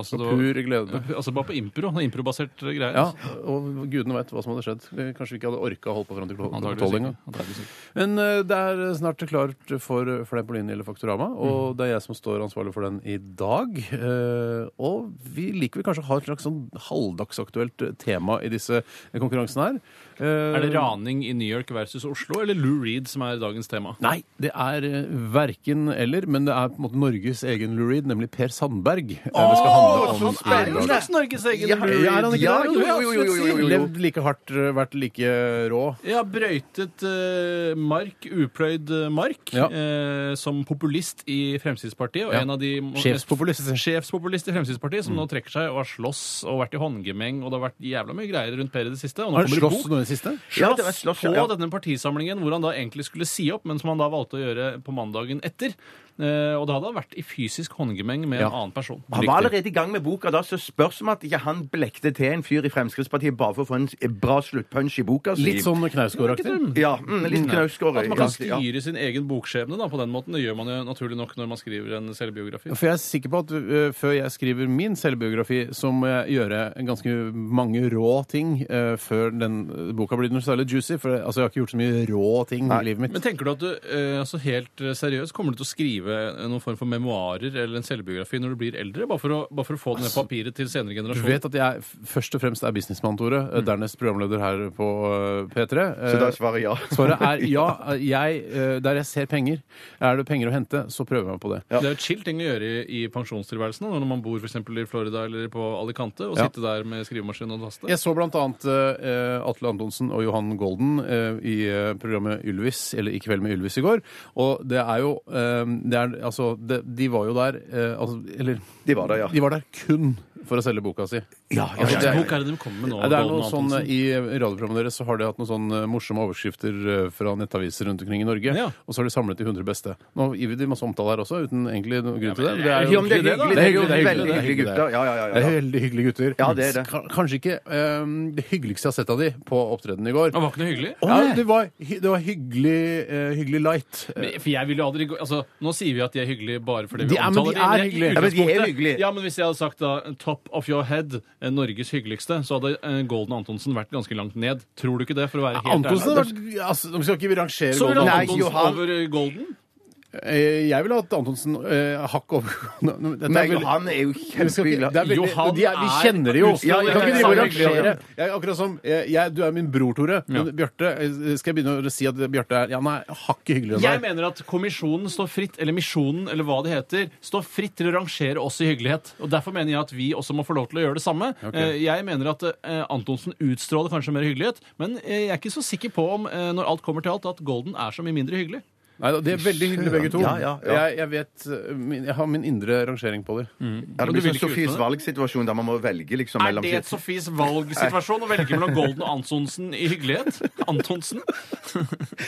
altså, det var,
Pur glede.
altså bare på impro. det er Improbasert greier.
Ja, og gudene veit hva som hadde skjedd. Kanskje vi ikke hadde orka å holde på fram til klokka
Antageligvis
tolv
ikke.
engang.
Antageligvis ikke.
Men eh, det er snart klart for Fleip og Linje eller Faktorama,
Mm.
og det er jeg som står ansvarlig for den i dag. Eh, Og vi liker vel kanskje å ha et slags sånn halvdagsaktuelt tema i disse konkurransene her. Eh,
Er det raning i New York versus Oslo, eller Lou Reed som er dagens tema?
Nei, det er eh, verken eller, men det er på en måte Norges egen Lou Reed, nemlig Per Sandberg. eh, det skal handle om i dag.
Norges egen
Ja,
Ja, er han ikke
Ja,
det?
jo, jo, jo, jo, jo, jo, jo.
Levd like hardt, eh, vært like rå.
Ja, brøytet eh, mark, upløyd eh, mark,
Ja.
eh, som populist i Fremskrittspartiet. Og
Ja.
en av de
Sjefspopulist. Mm.
Sjefspopulist i Fremskrittspartiet, som nå trekker seg og har slåss og vært i håndgemeng, og det har vært jævla mye greier rundt Per i det siste. Og nå
Har han
kommer det
slåss
bok.
noe i det siste?
Ja, det var slåss, ja, ja.
på denne partisamlingen hvor han da egentlig skulle si opp, men som han da valgte å gjøre på mandagen etter. Eh, og da hadde han vært i fysisk håndgemeng med
Ja.
en annen person.
Han var allerede i gang med boka da, så spørs om at ikke han blekte til en fyr i Fremskrittspartiet bare for å få en bra sluttpunch i boka si.
Litt sånn Knausgård-aktig?
Ja, mm, litt knausgård.
At man
ja,
kan
ja.
styre sin egen bokskjebne da, på den måten. Det gjør man jo naturlig nok når man skriver en selvbiografi.
For jeg er sikker på at ø, før jeg skriver min selvbiografi, så må jeg gjøre ganske mange rå ting ø, før den ø, boka blir noe særlig juicy. For altså, jeg har ikke gjort så mye rå ting i livet mitt.
Men tenker du at du eh, altså helt eh, seriøst kommer du til å skrive eh, noen form for memoarer eller en selvbiografi når du blir eldre? Bare for å, bare for å få det ned på papiret til senere
Altså,
sånn-
Du
generasjoner?
vet at jeg f- først og fremst er businessmann, Tore. ø, Dernest programleder her på ø, P3.
Mm. Så
Eh,
da er svaret ja.
Svaret er ja. Jeg, ø, der jeg ser penger, er det penger å hente, så prøver jeg meg på det.
Det er jo et chill ting å gjøre i, i pensjonstilværelsen da, når man bor for eksempel i Florida eller på Alicante, og
Ja.
sitte der med skrivemaskin og taste.
Jeg så blant annet eh, Atle Antonsen og Johan Golden eh, i eh, programmet Ylvis, eller I kveld med Ylvis i går. Og det er jo eh, det er, Altså, det, de var jo der eh, altså, Eller
De var der, ja.
de var der kun for å selge boka si.
Ja, ja,
Hva
ja,
slags
ja,
bok er det du kommer med nå?
Ja, det er
Golden
noe sånn,
Antonsen?
I radioprogrammet deres så har de hatt noen sånn eh, morsomme overskrifter eh, fra nettaviser rundt omkring i Norge.
Ja.
Og så har de samlet de 100 beste. Nå gir vi de masse omtale her også, uten egentlig noen grunn til det. men
det er
jo
jo hyggelig, det, da.
hyggelig, det er hyggelig,
Veldig
det er hyggelig, det er
hyggelige
hyggelig, det er.
gutter. Ja, ja, ja, ja.
Det er veldig hyggelige gutter.
Ja, det er det.
Ka- Kanskje ikke eh, det hyggeligste jeg har sett av de på opptredenen i går.
Det var ikke noe hyggelig?
Ja, det, var, hy- det var hyggelig, eh, hyggelig light. Eh,
Men- For jeg vil jo aldri gå, altså, Nå sier vi at de er hyggelige bare fordi
De
vi
er- men de
omtaler dem,
er
jeg- i
hyggelige.
Ja, men de er
utgangspunktet-
hyggelige.
Ja, men Hvis jeg hadde sagt da Top of your head, eh, Norges hyggeligste, så hadde eh, Golden Antonsen vært ganske langt ned. Tror du ikke det? for å være helt
Antonsen
ærlig?
har vært altså, Vi skal ikke rangere
Så vil
Golden
han
Nei,
Antonsen
Johan.
over eh, Golden?
Eh, Jeg ville hatt Antonsen eh, hakk over Nå- nå- dette er
Nei,
veldig-
Johan er jo
Vi skal ikke,
kjempeglad.
det er veldig,
Johan
de er, vi
er
kjenner det jo.
usla-
vi kan
ja,
ikke drive og
ja, ja, ja.
rangere. Jeg, er akkurat som, eh, jeg, du er min bror, Tore. Men
Ja.
Bjarte, eh, skal jeg begynne å si at Bjarte er ja, nei, hakket hyggeligere
Jeg
enn deg?
mener at Kommisjonen står fritt, eller Misjonen, eller hva det heter, står fritt til å rangere oss i hyggelighet. Og Derfor mener jeg at vi også må få lov til å gjøre det samme. Eh, Jeg mener at eh, Antonsen utstråler kanskje mer hyggelighet, men eh, jeg er ikke så sikker på om, eh, når alt kommer til alt, at Golden er så mye mindre hyggelig.
Nei, de er veldig hyggelige begge to.
Ja, ja, ja.
Jeg, jeg vet eh, min, Jeg har min indre rangering på dem.
Ja,
Men
det
du
blir
vil ikke
sånn
ut med
Sofies
det?
valgsituasjon der man må velge liksom
Er
mellom
det et Sofies valgsituasjon å velge mellom Golden og Antonsen i hyggelighet? Antonsen?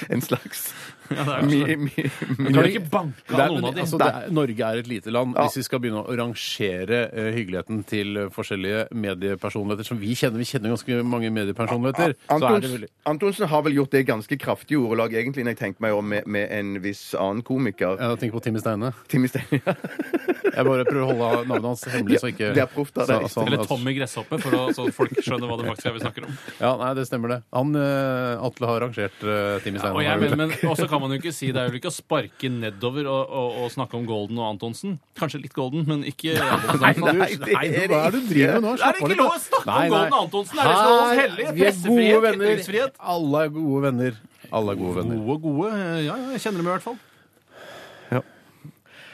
en slags
Ja, det er
mi, mi, mi.
Du kan ikke banke av noen av dem.
altså, det er, Norge er et lite land. Hvis vi skal begynne å rangere eh, hyggeligheten til eh, forskjellige mediepersonligheter som vi kjenner, vi kjenner ganske mange mediepersonligheter, så er det
Antonsen,
veldig
Antonsen har vel gjort det i ganske kraftig ordelag, egentlig, når jeg tenker meg om med, med en viss annen komiker.
Jeg tenker på Timmy Steine.
Timmy Stein.
Jeg bare prøver å holde navnet hans hemmelig. så ikke...
Ja, det er proft av deg.
så- så han-
Eller Tommy Gresshoppe, for å, så folk skjønner hva det faktisk er vi snakker om.
Ja, nei, det stemmer det. Han eh, Atle har rangert uh, Timmy Stein.
Og jeg mener, men også kan man jo ikke si Det er jo ikke å sparke nedover og, og, og snakke om Golden og Antonsen. Kanskje litt Golden, men ikke
Nei,
Antonsen.
nei,
Nei, det
nei,
er det
hva er det du driver med nå?
Er det
Slapp av
ikke
litt,
lov å
da.
snakke om
Nei, nei.
Golden Antonsen? Er det skal holdes
Her-
hellig?
vi er gode
Pressefrihet,
venner.
ytringsfrihet.
Alle er gode venner. Alle er gode venner.
Gode, gode. Ja, ja, jeg kjenner dem i hvert fall.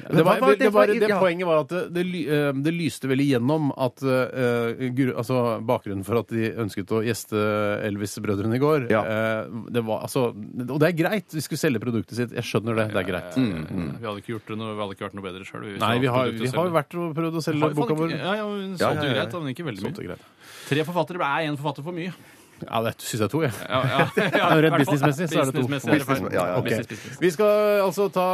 Det, var,
hva var
det,
det
det, var,
for-
det
ja.
poenget var at det, det, ly- eh, det lyste veldig gjennom at eh, gru, altså, bakgrunnen for at de ønsket å gjeste Elvis-brødrene i går
Ja.
eh, det var, altså, Og det er greit, de skulle selge produktet sitt. Jeg skjønner det. Det er greit.
Vi hadde ikke gjort det noe, vi hadde ikke vært noe bedre sjøl.
Mm, Nei, vi har, vi har vært og prøvd å selge boka vår.
Ja, ja, hun
Ja,
solgte jo
ja, ja.
greit, da, men ikke veldig
Sånt
mye.
er greit.
Tre forfattere ble- er én forfatter for mye.
Ja, det syns jeg er to, jeg.
Ja, ja, ja, i
rent
hvert fall.
businessmessig så er det to.
Businessmessig er det feil.
Business- ja, ja.
Ok.
Business, business.
Vi skal altså ta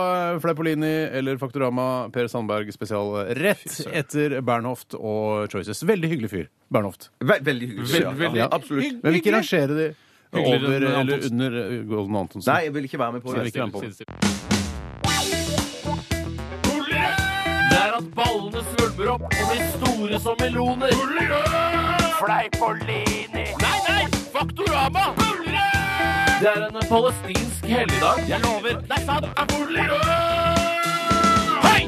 Fleipolini eller Faktorama Per Sandberg spesial rett etter Bernhoft og Choices. Veldig hyggelig fyr, Bernhoft.
Ve veldig hyggelig.
Veldig, veldig
Ja, absolutt.
Men vi vil ikke rangere de
Hyggeligere
over
enn
eller
Antonsen.
under eh, Golden Antonsen.
Nei, jeg vil ikke være med på
Nei,
det.
ikke være med på.
Det er at ballene svulmer opp og blir store som meloner. Fleipolini. Nei, nei! Faktorama! Det er en palestinsk helligdag. Jeg lover. Det er sant. Hei!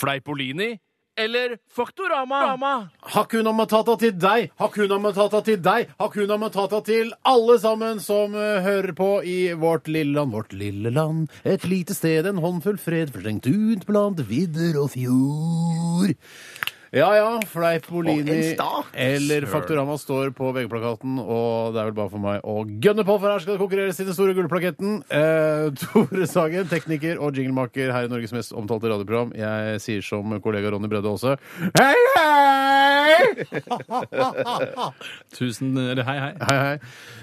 Fleipolini eller Faktorama?
Hakuna Matata til deg, Hakuna Matata til deg, Hakuna Matata til alle sammen som eh, hører på i vårt lille land. Vårt lille land, et lite sted, en håndfull fred, forstrengt ut blant vidder og fjord. Ja ja,
Og en
Fleipolini
start.
eller Faktorama står på VG-plakaten, og det er vel bare for meg å gønne på, for her skal det konkurreres i den store gullplaketten. Eh, Tore Sagen, tekniker og jinglemaker her i Norges mest omtalte radioprogram. Jeg sier som kollega Ronny Bredde også Hei, hei!
Tusen eller hei, hei.
Hei, hei.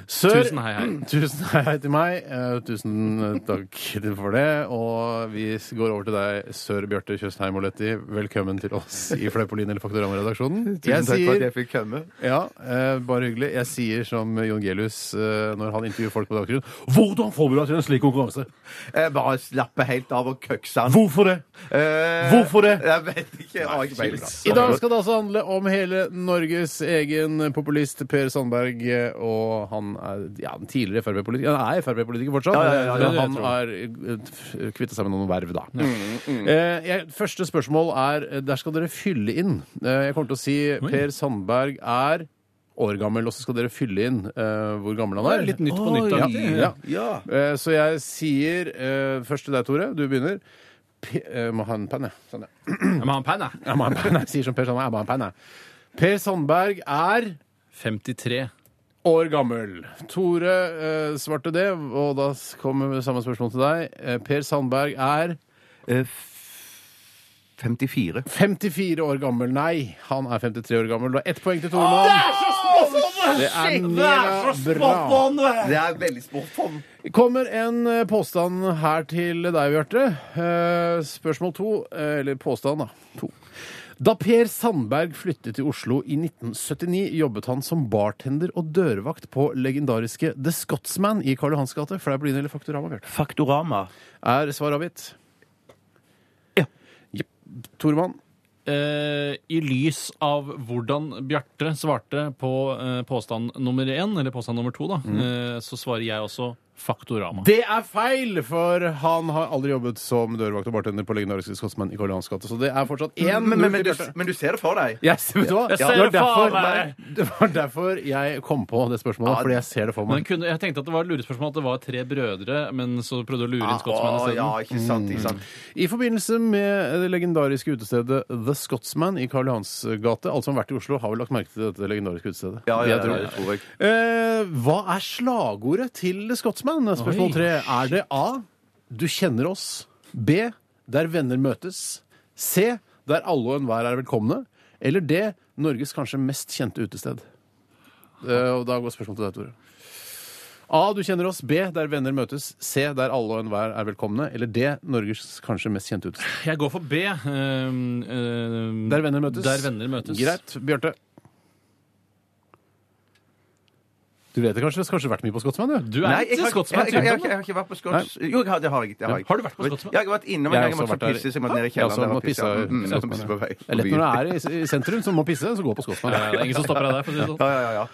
Sør,
Tusen hei, hei.
Tusen hei, hei til meg. Eh, tusen takk for det. Og vi går over til deg, sør Bjarte Tjøstheim Oletti. Velkommen til oss i Fleipolin eller Faktorama-redaksjonen. Jeg
Tusen takk for
sier-
at jeg fikk komme.
Ja, eh, bare hyggelig. Jeg sier som Jon Gelius eh, når han intervjuer folk på Dagsrevyen Hvordan får du deg til en slik konkurranse?
Eh, Bare slappe helt av og køkse han.
Hvorfor det?
Eh,
Hvorfor det?
Jeg vet ikke. Jeg har ikke peiling.
I dag skal det altså handle om hele Norges egen populist Per Sandberg. eh, Og han er ja, en tidligere Frp-politiker. Han er Frp-politiker fortsatt.
Ja, ja, ja, ja,
men
det
han har eh, kvittet seg med noen verv, da. Eh, jeg, første spørsmål er eh, Der skal dere fylle inn. Eh, jeg kommer til å si Per Sandberg er år gammel, og så skal dere fylle inn eh, hvor gammel han er.
Litt nytt på nytt.
Ja,
aktig.
ja.
Ja.
Eh, Så jeg sier eh, først til deg, Tore. Du begynner. P eh, må ha en penn, jeg. Sånn, ja.
Jeg må ha en penn, jeg.
Jeg må ha en penn, jeg. Sier som Per Sandberg. Jeg må ha en penn, jeg. Per Sandberg er
53.
år gammel. Tore eh, svarte det, og da Eh, s- kommer samme spørsmål til deg. Eh, per Sandberg er
Eh, 54.
54 år gammel. Nei, han er 53 år gammel. Du har ett poeng til Tormann. Det er mega bra.
Det er veldig sportfond.
kommer en eh, påstand her til deg, Bjarte. Eh, Spørsmål to, eh, eller påstand, da. To. Da Per Sandberg flyttet til Oslo i 1979, jobbet han som bartender og dørvakt på legendariske The Scotsman i Karl Johans gate. Fleipolini eller Faktorama, Bjarte?
Faktorama.
Er svar avgitt?
Ja.
Jepp. Tormann?
Eh, I lys av hvordan Bjarte svarte på eh, påstand nummer én, eller påstand nummer to, da, eh, så svarer jeg også Faktorama.
Mm. Det er feil, for han har aldri jobbet som dørvakt og bartender på legendariske Scotsman i Karl Johans gate. Så det er fortsatt én
Men, men, men, du,
Bjarte.
men du ser det for deg?
Yes, vet du hva?
Jeg ser
det, var
det for
derfor, det var derfor jeg kom på det spørsmålet. fordi jeg ser det for
Men
meg.
kunne, jeg tenkte at det var et lurespørsmål at det var tre brødre, men så prøvde du å lure
Ah,
inn skotsmannen
Å,
isteden.
ja, ikke sant, ikke sant.
I forbindelse med det legendariske utestedet The Scotsman i Karl Johans gate Alle som har vært i Oslo, har vel lagt merke til dette legendariske utestedet.
Ja, ja,
Jeg
ja,
tror.
det tror jeg.
Eh, hva er slagordet til The Scotsman? Spørsmål
Oi.
tre. Er det A. Du kjenner oss. B. Der venner møtes. C. Der alle og enhver er velkomne. Eller D. Norges kanskje mest kjente utested. Eh, og da går spørsmålet til deg, Tore. A. Du kjenner oss. B. Der venner møtes. C. Der alle og enhver er velkomne. Eller D. Norges kanskje mest kjente utested.
"Mm, Jeg går for B. ehm, ehm,
Der venner møtes.
Der venner møtes.
Greit. Bjarte. Du vet det kanskje? Du har kanskje vært mye på Scotsman, du?
Du er
Nei, jeg
ikke
har, jeg,
skotsmann.
jeg, jeg, jeg, har ikke vært på Scots... Jo, jeg har, det har jeg. Det har, jeg.
Har du vært på Scotsman?
Jeg har vært innom en
Jeg har
gang. Jeg
også
måtte
vært der.
pisse, så jeg måtte ned i
Ja, så
kjelleren. der
må
og pisse.
pisse i
Mm, jeg måtte
Scotsman,
pisse på vei
ja. Det er lett når du er i, i sentrum, så må pisse, så gå på Scotsman.
Ja, det er ingen som stopper deg der. for å si det sånn.
Ja, ja, ja.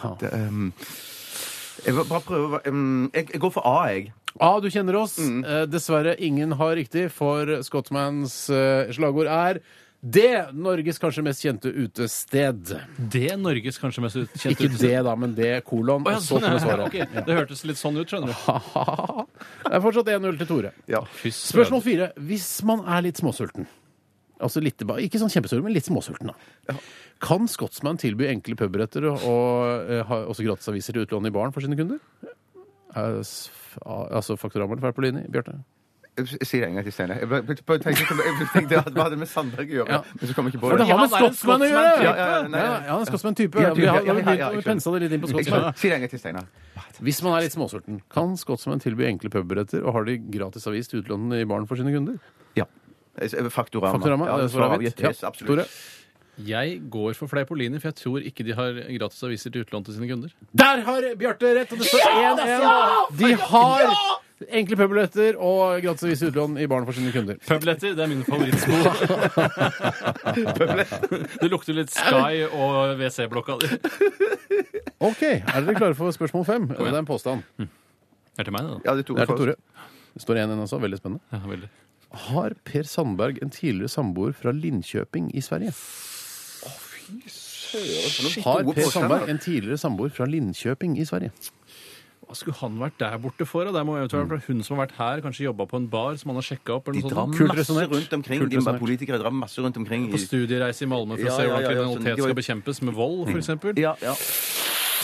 ja. Det, ehm, jeg vil bare prøve å være- ehm, jeg, jeg går for A, jeg.
Ah, du kjenner oss.
Mm.
Eh, dessverre, ingen har riktig, for Scotsmans eh, slagord er det Norges kanskje mest kjente utested.
Det er Norges kanskje mest ut- kjente
Ikke det, da, men det, kolon,
Å, ja,
og
sånn,
så kommer
ja.
svaret.
Ok, Det hørtes litt sånn ut, skjønner du.
Det er fortsatt 1-0 til Tore.
Ja.
Fy søren.
Spørsmål fire. Hvis man er litt småsulten Altså litt, ba- Ikke sånn kjempesulten, men litt småsulten. da. Kan Scotsman tilby enkle pubretter og, og eh, ha også gratisaviser til utlån i baren for sine kunder? Eh, s- a- altså Faktorama eller Ferpolini? Bjarte?
Jeg sier det en gang til Steinar. Jeg bare- bare- bare tenkte jeg tenkte at hva hadde det med Sandberg å gjøre?
Ja.
Men så kom jeg ikke på
For det
det.
har
han
med
er en
Scotsman å gjøre!
Scotsman-type.
Ja,
Ja, ja, ja, nei,
ja,
ja.
han er Scotsman-type. Vi
Ja,
har,
ja, ja, ja,
vi
ja,
har
ja,
pensa det litt inn på
Jeg
Scotsman.
skjønner. Si det en gang til Steinar.
Hvis man er litt småsulten, kan Scotsman tilby enkle pubretter og har de gratis avis til utlån i baren for sine kunder?
Ja. Faktorama.
Faktorama? eh,
Ja,
er det svaret mitt?
avgitt. Yes,
Ja,
absolutt.
Tore?
Jeg går for Fleipolini, for jeg tror ikke de har gratis aviser til utlån til sine kunder.
Der har Bjarte rett, og det står 1-1. De har enkle publetter og gratisavis utlån i baren for sine kunder.
Publetter, det er min favorittsko. det lukter litt Sky og WC-blokka di. Det
OK, er dere klare for spørsmål fem? Det er en påstand.
er til meg, det, da.
Ja, det tok
Det er til
først.
Tore. Det står 1-1 også. Veldig spennende.
Ja, veldig.
Har Per Sandberg en tidligere samboer fra Linköping i Sverige? Har
Gode
Per
påstander. altså.
Sandberg en tidligere samboer fra Linköping i Sverige?
Hva skulle han vært der borte for? da? Det må eventuelt være hun som har vært her, kanskje jobba på en bar som han har sjekka opp. eller
De
noe
drar
sånt.
sånn Kult
masse
resonert.
rundt omkring.
Kult
De
resonert.
politikere drar masse rundt omkring. i-
På studiereise i Malmö for
Ja,
å se
ja,
hvordan
ja, ja, sånn,
kriminalitet
det var-
skal bekjempes med vold, f.eks.
Ja, ja.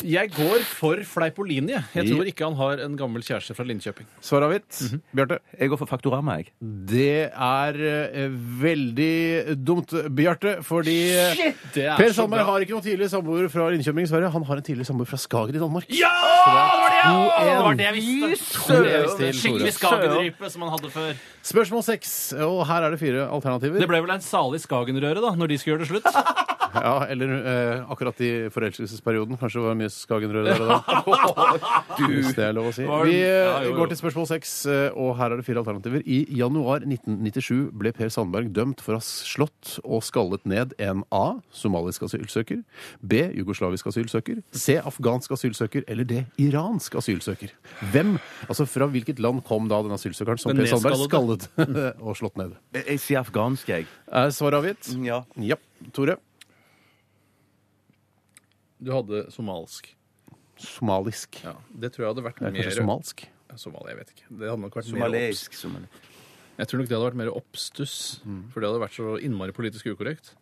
Jeg går for Fleipolini. jeg. Jeg tror ikke han har en gammel kjæreste fra Linköping.
Svaret er hvitt. Bjarte?
Jeg går for Faktorama, jeg.
Det er eh, veldig dumt, Bjarte, fordi eh,
Det er
Per
så bra.
Sandberg har ikke noen tidligere samboer fra Linköping i Sverige. Han har en tidligere samboer fra Skager i Danmark.
Ja! Det var det, ja! det var det jeg
To
visste!
en til, Tore.
Skikkelig Skagen-rype som han hadde før.
Spørsmål seks, og her er det fire alternativer.
Det ble vel en salig Skagen-røre da, når de skulle gjøre det slutt.
Ja, Eller eh, akkurat i forelskelsesperioden. Kanskje det var mye Skagenrød der og da. Hvis det er lov å si.
Var det-
Vi eh,
Ja, jo, jo.
går til spørsmål seks, eh, og her er det fire alternativer. I januar 1997 ble Per Sandberg dømt for å ha slått og skallet ned en A. Somalisk asylsøker. B. Jugoslavisk asylsøker. C. Afghansk asylsøker. Eller D. Iransk asylsøker. Hvem? Altså fra hvilket land kom da den asylsøkeren som
Den
Per Sandberg skallet og slått ned?
Jeg, jeg sier afghansk, jeg.
Er svaret avgitt?
Ja.
Ja. Tore?
Du hadde somalsk.
Somalisk.
Ja, Det tror jeg hadde vært
Det er kanskje somalsk?
Somalia, jeg vet ikke. Det hadde nok vært mer
Somalisk. somali-
opp- Jeg tror nok det hadde vært mer oppstuss, for det hadde vært så innmari politisk ukorrekt.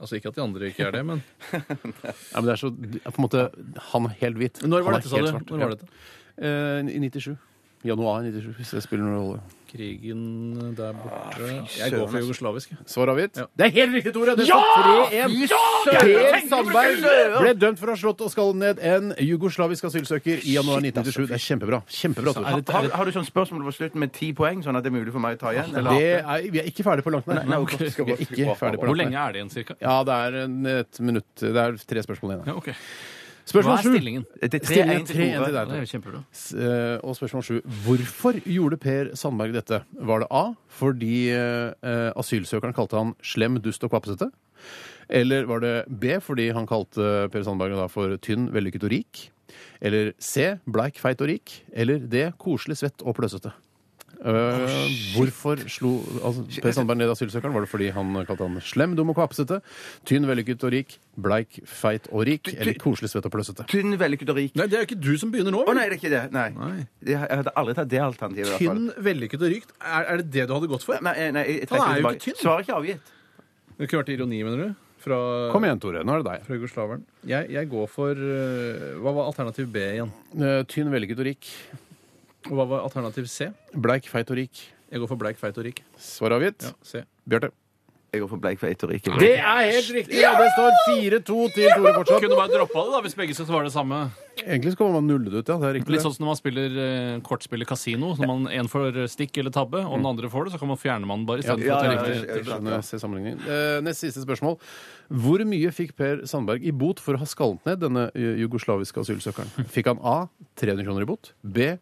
Altså ikke at de andre ikke er det, men
Ja, men det er så, på en måte, Han er helt hvit.
Når var
Han er
dette, sa
helt
du?
svart.
Når var dette?
Eh, I 97. Januar 97, hvis det spiller noen rolle.
Krigen der borte Jeg går for jugoslavisk. jeg.
Svar avgitt? Det er helt riktig, Tore! Det står 3-1. Per Sandberg ble dømt for å ha slått og skallet ned en jugoslavisk asylsøker i januar 1997. Det er kjempebra. Kjempebra, Tore.
Har, har du sånn spørsmål på slutten med ti poeng, sånn at det er mulig for meg å ta igjen? eller?
Det er, vi er ikke ferdig på langt nær.
Nei, ok.
Vi er ikke ferdig på
Hvor
langt
lenge
nær.
er det igjen, cirka?
Ja, det er en, et minutt. Det er tre spørsmål igjen.
Ja, ok. Hva
Spørsmål
er
sju.
stillingen? Ja,
Det er tre,
Stillingen
en
er
til
3-1 til
Tore.
deg.
Det
Tore.
er jo kjempebra.
S- eh, Og spørsmål sju. Hvorfor gjorde Per Sandberg dette? Var det A fordi eh, eh, asylsøkeren kalte han slem, dust og kvapsete? Eller var det B fordi han kalte Per Sandberg da for tynn, vellykket og rik? Eller C bleik, feit og rik? Eller D koselig, svett og pløsete? Eh, hvorfor slo altså, Per Sandberg ned asylsøkeren? Var det fordi han kalte han slem, dum og kvapsete? Tynn, vellykket og rik? Bleik, feit og rik? Eller koselig, svett og pløsete?
Tynn, vellykket og rik.
Nei, det er jo ikke du som begynner nå.
Å nei, det er ikke det. Nei. Det- Jeg hadde aldri tatt det alternativet. i hvert fall.
Tynn, vellykket og rikt. Er, er det det du hadde gått for?
Nei, nei,
Han
jeg
er
trekker
jo
tilbake.
ikke tynn.
Svaret er ikke avgitt.
Det kunne vært ironi, mener du? Fra,
Kom igjen, Tore. Nå er det deg.
fra jugoslaveren. Jeg, jeg går for øh, Hva var alternativ B igjen?
Eh, Tynn, vellykket og rik.
Og hva var alternativ C?
Bleik, feit og rik.
Jeg går for bleik, feit og rik.
Svar avgitt.
Ja, C.
Bjarte.
Jeg går for bleik feit og rik.
Det er helt riktig! Ja, det står 4-2 til Tore fortsatt.
Kunne bare droppa det da, hvis begge skal svare det samme.
Egentlig skal man nulle det ut, ja. Det er riktig.
Litt sånn som når man spiller eh, kortspiller kasino. Så man en får eh, stikk eller tabbe, og den andre får det, så kan man fjerne man bare istedenfor
Ja,
Mm. ja, å ta
ja, ja,
riktig.
ja.
Jeg skjønner, jeg ser sammenligningen. Eh, Nest siste spørsmål. Hvor mye fikk Per Sandberg i bot for å ha skallet ned denne ju- jugoslaviske asylsøkeren? Fikk han A 300 kroner i bot, B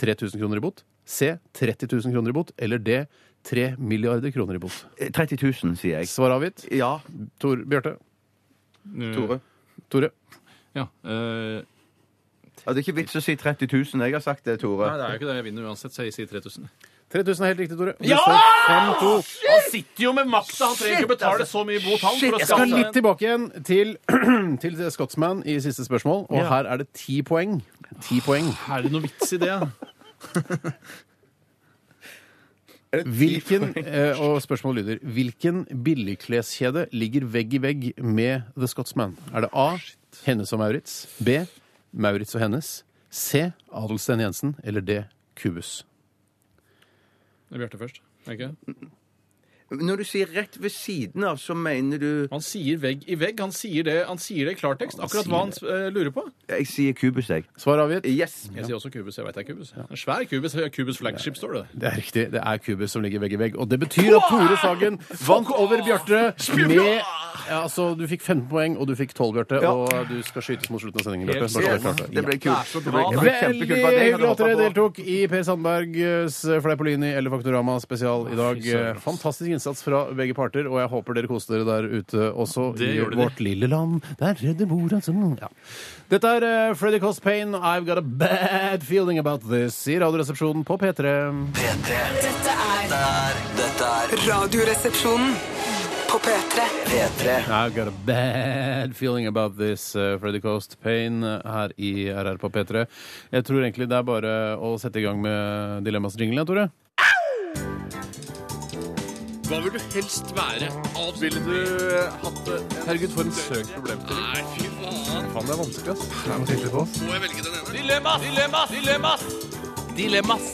3000 kroner i bot, C 30 000 kroner i bot, eller D 3 milliarder kroner i bot?
30 000, sier jeg.
Svar avgitt.
Ja,
Tor, Bjarte.
Eh,
Tore.
Tore.
Ja. eh,
Ja, det er ikke vits å si 30 000. Jeg har sagt det,
nei,
Tore.
det er jo ikke det. Jeg vinner uansett, så jeg sier 3000.
3000 er helt riktig, Tore. Det
Ja!
står 5-2.
Han sitter jo med makta! Han trenger ikke å betale så mye bot, han. For å
altså. Jeg skal
skaffe
litt tilbake igjen til, til Scotsman i siste spørsmål, og her er det ti poeng. Ti poeng.
Er det noe vits i det?
Hvilken, eh, og spørsmålet lyder Hvilken billigkleskjede ligger vegg i vegg med The Scotsman? Er det A. Hennes og Maurits? B. Maurits og hennes? C. Adelsten Jensen? Eller D. Kubus?
Det er Bjarte først. er det Ikke?
Når du sier rett ved siden av, så mener du
Han sier vegg i vegg. Han sier det, han sier det i klartekst. Akkurat hva han eh, lurer på.
Jeg sier kubus, jeg.
Svar avgitt.
Yes.
Jeg sier også kubus. Jeg veit det er kubus. En svær kubus. Kubus flagship står det der.
Det er riktig. Det er Kubus som ligger vegg i vegg. Og det betyr at Tore Sagen vant over Bjarte med ja, altså, Du fikk 15 poeng, og du fikk 12, Bjarte. Og du skal skytes mot slutten av sendingen,
Helt
Bjarte. Bare så det er
strålende.
klart.
Det ble
Det er
kult.
så
Det
bra.
ble, det ble
Veldig
kjempekult. Hva jeg hadde
hyggelig at dere
håpet på.
deltok i Per Sandbergs Fleipolini eller Faktorama spesial i dag.
Fy søren, ass.
Fantastisk innsats fra begge parter, og jeg håper dere koste dere der ute også
Det
i
gjorde de.
vårt lille land. Der redder mora som ja. Dette er eh, Freddy Koss Payne, I've Got A Bad Feeling About This, i Radioresepsjonen på P3.
P3.
Dette er
Der. Dette er
Radioresepsjonen på P3.
P3.
I've got a bad feeling about this, uh, Freddy Coast Pain, uh, her i RR på P3. Jeg tror egentlig det er bare å sette i gang med dilemmasjinglen, Tore.
Hva vil du helst være? Ville du eh, hatt det? Herregud, for en søk problemstilling. Nei, fy faen. Faen, det er vanskelig, ass. Det er noe sikkert på oss. Må jeg velge den ene? Dilemmas! Dilemmas! Dilemmas! Dilemmas!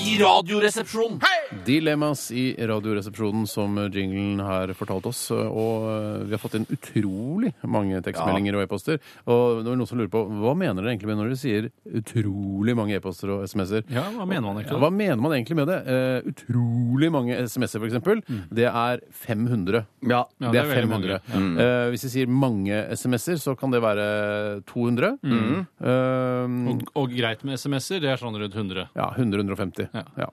I radioresepsjonen.
Dilemmas i Radioresepsjonen, som jinglen her fortalte oss. Og uh, vi har fått inn utrolig mange tekstmeldinger og e-poster. Og det var noen som lurer på hva mener dere egentlig med når dere sier utrolig mange e-poster og SMS-er?
Ja, hva mener man
Ja,
egentlig?
hva mener man egentlig med det? Eh, utrolig mange SMS-er, f.eks. Det er 500.
Ja.
Mm. Ja, Mm.
det
det
er
er veldig
500. Eh, hvis vi sier mange SMS-er, så kan det være 200.
Mm.
Eh,
Og, og greit med SMS-er, det er sånn rundt 100.
ja, 100-150. Ja.
Ja.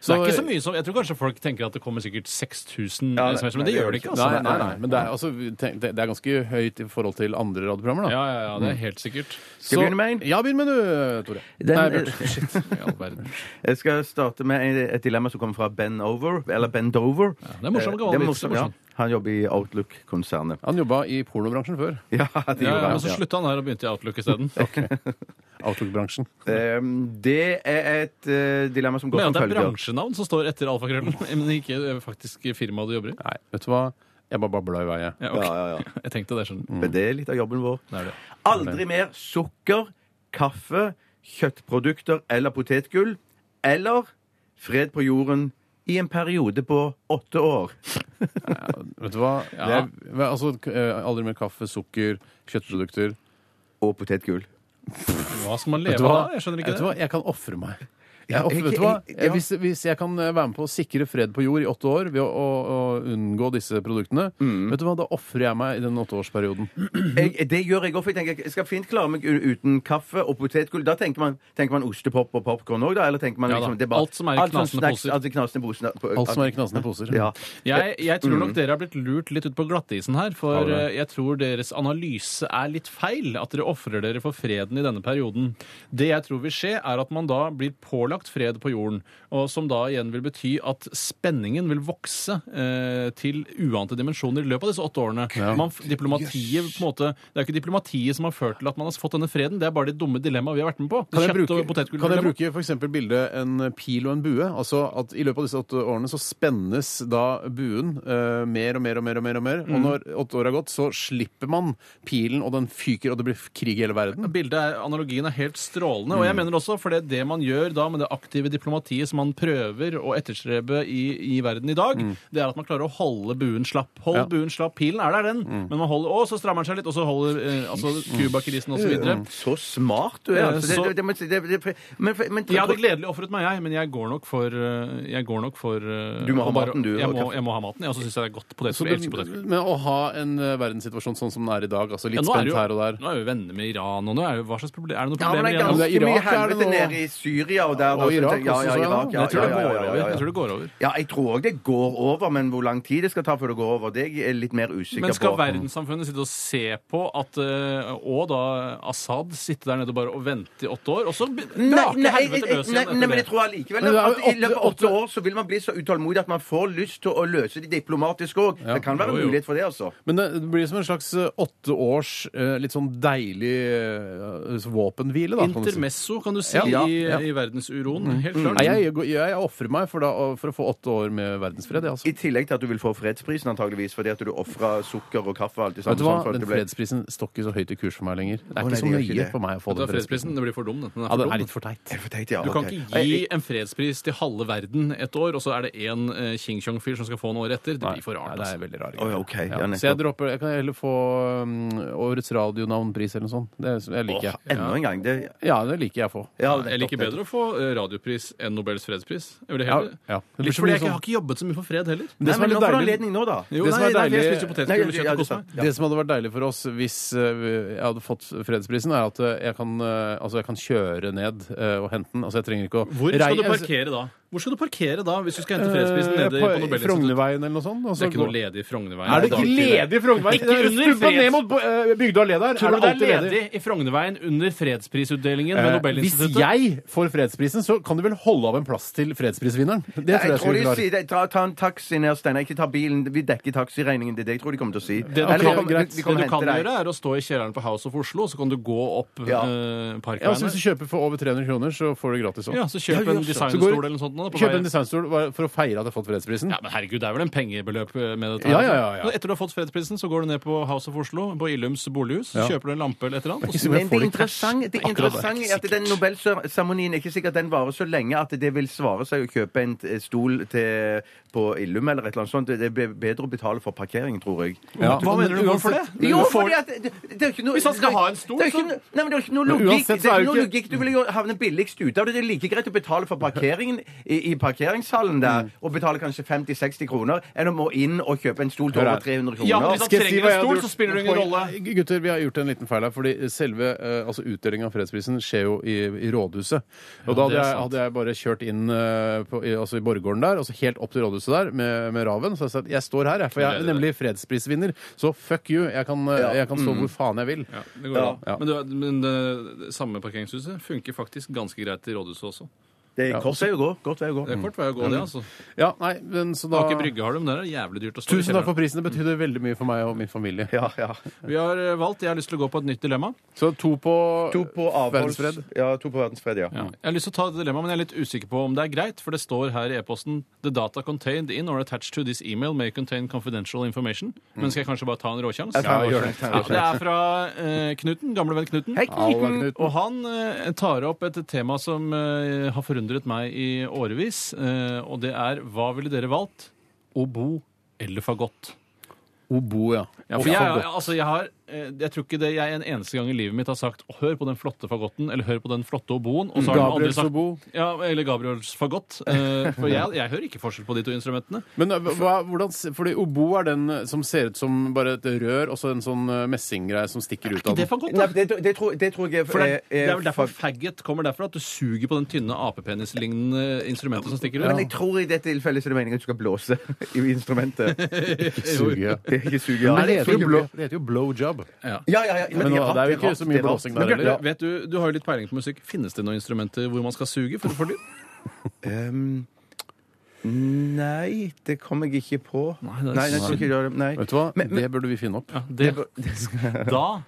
Så-
det er ikke så mye som, Jeg tror kanskje folk tenker at det kommer sikkert 6000
Ja, nei,
SMS, men
nei,
det gjør det ikke. altså.
Nei, nei, nei, men det er, altså, vi tenk- det det er ganske høyt i forhold til andre radioprogrammer. Da.
Ja, ja, ja, det er helt sikkert.
Skal jeg begynne med en?
Ja, begynn med du, Tore.
Den-
Nei, Bjarte. Shit.
I all verden.
Jeg skal starte med et dilemma som kommer fra Ben Over. Eller Ben Dover.
det er morsom,
Eh,
gammel
det
vits,
er morsom,
det er
ja.
morsom.
Han jobber i Outlook-konsernet.
Han jobba i pornobransjen før.
Ja, det
Ja, ja,
gjorde han.
men så
ja.
slutta han her og begynte i Outlook isteden.
Outlook-bransjen.
Ehm, Det er et eh, dilemma som går
Men
som
at det er
følger.
bransjenavn som står etter alfakrøllen, men ikke eh, faktisk firmaet du jobber i.
Nei, vet du hva? Jeg bare babla i vei, jeg.
Ja, ok.
Ja, ja, ja.
Jeg tenkte det,
Mm.
skjønner du.
Men det er litt av jobben vår.
Det er det.
Aldri mer sukker, kaffe, kjøttprodukter eller potetgull. Eller fred på jorden i en periode på åtte år.
Vet du hva? Det er, hva- altså, k- eh, aldri mer kaffe, sukker, kjøttprodukter.
Og potetgull.
Hva skal man
Vet
leve
du hva?
av? Jeg skjønner ikke
vet du
det.
hva? Jeg kan ofre meg. Jeg offrer-
jeg-
vet du hva?
jeg-
Jeg, hvis, hvis jeg kan eh, være med på å sikre fred på jord i åtte år ved å, å, å unngå disse produktene,
Mm.
vet du hva? da ofrer jeg meg i den åtteårsperioden.
Jeg, det gjør jeg òg, for jeg tenker jeg skal fint klare meg u- uten kaffe og potetgull. Da tenker man, tenker man ostepop og popkorn òg, da? Eller tenker man
Ja da.
liksom
Alt som er i
alt sånn
knasende
snacks,
poser.
Alt i knasende poser.
Alt som er i knasende poser.
Ja.
Jeg, jeg tror
Mm.
nok dere har blitt lurt litt ut på glattisen her, for eh, jeg tror deres analyse er litt feil. At dere ofrer dere for freden i denne perioden. Det jeg tror vil skje, er at man da blir pålagt fred på jorden, og som da igjen vil bety at spenningen vil vokse eh, til uante dimensjoner i løpet av disse åtte årene. Man, f- diplomatiet på en måte Det er jo ikke diplomatiet som har ført til at man har fått denne freden, det er bare det dumme dilemmaet vi har vært med på.
Kan
Kjøtt-
jeg
og
bruke, kan jeg
potetgulldilemma.
bruke for eksempel bildet en pil og en bue? Altså at I løpet av disse åtte årene så spennes da buen eh, mer og mer og mer. Og mer og mer.
Mm.
Og når åtte år har gått, så slipper man pilen, og den fyker, og det blir krig i hele verden.
Bildet er, analogien er helt strålende. Og jeg
Mm.
mener også, for det, det man gjør da med det aktive diplomatiet som man prøver å etterstrebe i, i verden i dag,
Mm.
det er at man klarer å holde buen slapp. Hold
Ja.
buen slapp. Pilen er der, den.
Mm.
Men man holder, å, så strammer den seg litt, og så holder eh, altså, Cuba-krisen osv.
Mm. Så smart du er.
Ja,
Altså.
Eh, så-
Det, det, det, må jeg si, det, det, men, men,
Jeg hadde gledelig ofret meg, jeg, men jeg går nok for, eh, jeg går nok for eh,
Du må ha
å bare-
maten, du,
Jeg
og
må,
kaffe.
jeg må ha maten, ja, og så syns jeg det er godt
Så
potetgull. Jeg
det,
elsker potetgull.
men å ha en eh, verdenssituasjon sånn som den er i dag, altså litt
Ja, nå, er
spent
det jo,
her og der
nå er vi jo venner med Iran, og nå er det jo hva slags problem, er det noe
Ja,
problem
men det er
Men
ganske
med Iran?
det er Irak er
mye
det
helvete
nå.
nede i Syria og der. da,
Og
så
Irak
tenker- ja,
også,
ja,
så er det
Irak,
nå.
ja,
Jeg tror
ja,
det
ja,
går
ja,
over.
ja,
Jeg
ja.
tror det går over.
Ja, jeg tror òg det går over, men hvor lang tid det skal ta før det går over, det er jeg litt mer usikker
Men skal
på.
verdenssamfunnet sitte og se på at eh, Og da Assad sitte der nede og bare og vente i åtte år, og så be-
Nei,
brake
nei, jeg-
helvete løs
nei,
igjen?
nei, men jeg
etter det?
tror allikevel
Men det er
at
jo
i løpet av
åtte-
åtte år så vil man bli så utålmodig at man får lyst til å løse det diplomatisk òg. Det kan være
Jo, jo.
mulighet for det, altså.
Men det det blir som en slags eh, åtte års eh, litt sånn deilig eh, våpenhvile, da. kan man si.
Intermesso, kan du si,
Ja, ja, ja. Mm.
I, i verdensuroen. Helt klart.
Nei, jeg, jeg, jeg ofrer meg for, da, å- for å få åtte år med verdensfred. jeg, Altså.
I tillegg til at du vil få fredsprisen, antageligvis, fordi at du ofra sukker og kaffe og alt det samme.
Vet du hva?
sånn for
Den
at det ble-
fredsprisen står ikke så høyt i kurs for meg lenger. Det er
Å,
ikke
nei,
så
det gjør ikke
nøye
det.
for meg å få
Det
den
er fredsprisen.
fredsprisen.
Det blir for dum, den. den
Ja,
for
den er
dum.
litt for teit.
Jeg får tenkt, ja,
Du kan
ok.
ikke gi en fredspris til halve verden et år, og så er det én eh, King Chong-fyr som skal få den året etter. Det blir for
Nei,
rart.
det
Altså.
er veldig rar.
Å, ja, ok. Ja,
Ja,
nettopp.
så jeg dropper Jeg kan heller få mm, årets radionavnpris eller noe sånt. Det er- jeg liker jeg.
Enda en gang. Det,
Ja, det liker jeg å få.
ja,
Jeg liker
nettopp,
bedre å få eh, radiopris enn Nobels fredspris. Jeg vil
Ja,
heller.
ja. Det blir
Litt
så
fordi
mye
jeg ikke-
sånn-
har ikke jobbet så mye for fred heller.
Nei,
som
men
er
nå
litt
får du
deilig-
anledning nå, da.
Jo,
Det som
nei, nei, for jeg
er deilig-
spiser jo
Nei,
potetgull og
ja,
kjøtt
ja,
og koser meg.
Ja.
Det som hadde vært deilig for oss hvis eh, jeg hadde fått fredsprisen, er at eh, jeg kan, eh, altså jeg kan kjøre ned eh, og hente den. Altså jeg trenger ikke å
Hvor skal
rei- altså-
du parkere da? Hvor skal du parkere da, hvis du skal hente fredsprisen
Eh,
nede på Nobelinstituttet?
Frognerveien eller noe sånt. og så
Det er ikke noe
går-
ledig i Frognerveien.
Er det ikke ledig i Frognerveien?
Ikke under
Stubba
freds-
ned mot eh, Bygdøy allé der.
Tror du det
alltid
er ledig i Frognerveien under fredsprisutdelingen ved
Eh, Hvis
Nobelinstituttet?
jeg får fredsprisen, så kan du vel holde av en plass til fredsprisvinneren? Det tror
Jeg,
jeg
tror
skulle
de
klare.
sier det. ta, ta en taxi ned, Steinar. Ikke ta bilen. Vi dekker taxiregningen. Det er det jeg tror de kommer til å si.
Det du,
Eller vi
kan,
kommer- vi-
greit.
vi
det
kommer
du
og
kan
henter deg.
gjøre, er å stå i kjelleren på House of Oslo, så kan du gå opp
Ja.
eh,
Ja, altså, hvis
Parkveien.
du kjøper for over 300 kroner, så får du gratis òg.
Ja, så kjøp en
Så går-
designstol eller noe sånt. nå, da, på
Kjøp en
veien.
designstol bare for å feire at jeg har fått fredsprisen.
Ja, men herregud, det er vel en pengebeløp eh, med dette.
Ja,
her,
ja,
altså.
ja, ja.
Etter du har fått fredsprisen, så går du ned på House of Oslo, på Illums bolighus,
Ja.
kjøper du en lampe eller et eller annet. og så-
Ikke så mye
Men
får
det
du cash.
interessante det interessante er at den Nobelseremonien er ikke sikkert den varer så lenge at det vil svare seg å kjøpe en t- stol til, på Illum eller et eller annet sånt. Det er be- bedre å betale for parkering, tror jeg.
Ja.
Hva mener du hvorfor det?
Jo,
Du får-
fordi at det, det er ikke noe,
Hvis han skal
det-
ha en stol,
det er ikke
så-
noe- Nei, men det er ikke noe
Men
logikk.
uansett så
Det er
er
ikke
jo
noe
ikke-
logikk. Du vil jo havne billigst ute av det. Det er like greit å betale for parkeringen i, i parkeringshallen
Mm.
der, og betale kanskje 50-60 kroner, enn å må inn og kjøpe en stol til
Hør
over
her.
300
Ja, men
kroner.
hvis han
Skal jeg
trenger
si hva
en
jeg hadde
stol,
gjort?
så spiller det ingen
Poeng-
rolle.
Gutter, vi har gjort en liten feil her. Fordi selve eh, altså utdelingen av fredsprisen skjer jo i, i rådhuset. Og
det
da
er
hadde jeg,
sant.
hadde jeg bare kjørt inn eh, på, i, altså i borggården der, og så helt opp til rådhuset der med, med Raven. Så jeg sa at jeg står her, jeg, for jeg
Det
er
er det.
nemlig fredsprisvinner. Så fuck you. Jeg kan, eh, jeg kan stå hvor faen jeg vil.
Mm. Ja, det går an. Men, du, men det, det samme parkeringshuset funker faktisk ganske greit i rådhuset også.
Det er kort vei å gå. Godt vei å gå.
Det er kort vei å gå, det. altså.
Ja, nei, men så da
Aker Brygge har det, men der er det jævlig dyrt å stå i
Tusen takk for
kjelleren.
prisen. Det betydde veldig mye for meg og min familie.
Ja, ja.
Vi har eh, valgt. Jeg har lyst til å gå på et nytt dilemma.
Så to på,
To på avholds...
verdensfred.
Ja, to på verdensfred, ja.
Jeg har lyst til å ta et dilemma, men jeg er litt usikker på om det er greit, for det står her i e-posten The data contained in or attached to this email may contain confidential information. Men skal jeg kanskje bare ta en råsjans?
Jeg tar en
Ja,
råsjans.
ja, det er fra eh, Knuten, gamle venn Knuten.
Hei, Knuten.
Knuten.
Og han eh, tar opp et tema som eh, har forundret forundret meg i årevis, eh, og det er hva ville dere valgt? Obo eller fagott?
Obo, ja.
Ja, for jeg, altså, jeg, har, eh, jeg tror ikke det jeg en eneste gang i livet mitt har sagt 'hør på den flotte fagotten' eller 'hør på den flotte oboen'. Og så har den andre
Gabriels
sagt-
obo.
Ja, eller Gabriels fagott. Eh, For jeg, jeg hører ikke forskjell på de to instrumentene.
Men eh, hva, hvordan, se- fordi obo er den eh, som ser ut som bare et rør og så en sånn eh, messinggreie som stikker ut
Ikke
av
det
den.
fagott,
Nei,
da?
det, det, tror, det tror jeg
For det, er- det er vel derfor
for-
faggot kommer derfra, at du suger på den tynne apepenislignende instrumentet som stikker
Men jeg
ut.
tror i dette tilfellet så er det meningen at du skal blåse i instrumentet.
Suge.
Det er ikke suge.
Men det
Ja,
heter jo blow- det heter jo blow job.
ja, ja, ja,
Men nå-
ja,
det er jo ikke
rart,
så
det
mye
er rart.
blåsing
Men
der
Bjarte,
heller.
vet du, du har jo litt peiling på musikk. Finnes det noen instrumenter hvor man skal suge for å få lyd?
Ehm, nei, det kom jeg ikke på.
Nei, det er
nei, jeg tror ikke jeg gjør det. Nei.
Vet du hva?
Men- men-
det burde vi finne opp.
Ja, det, da.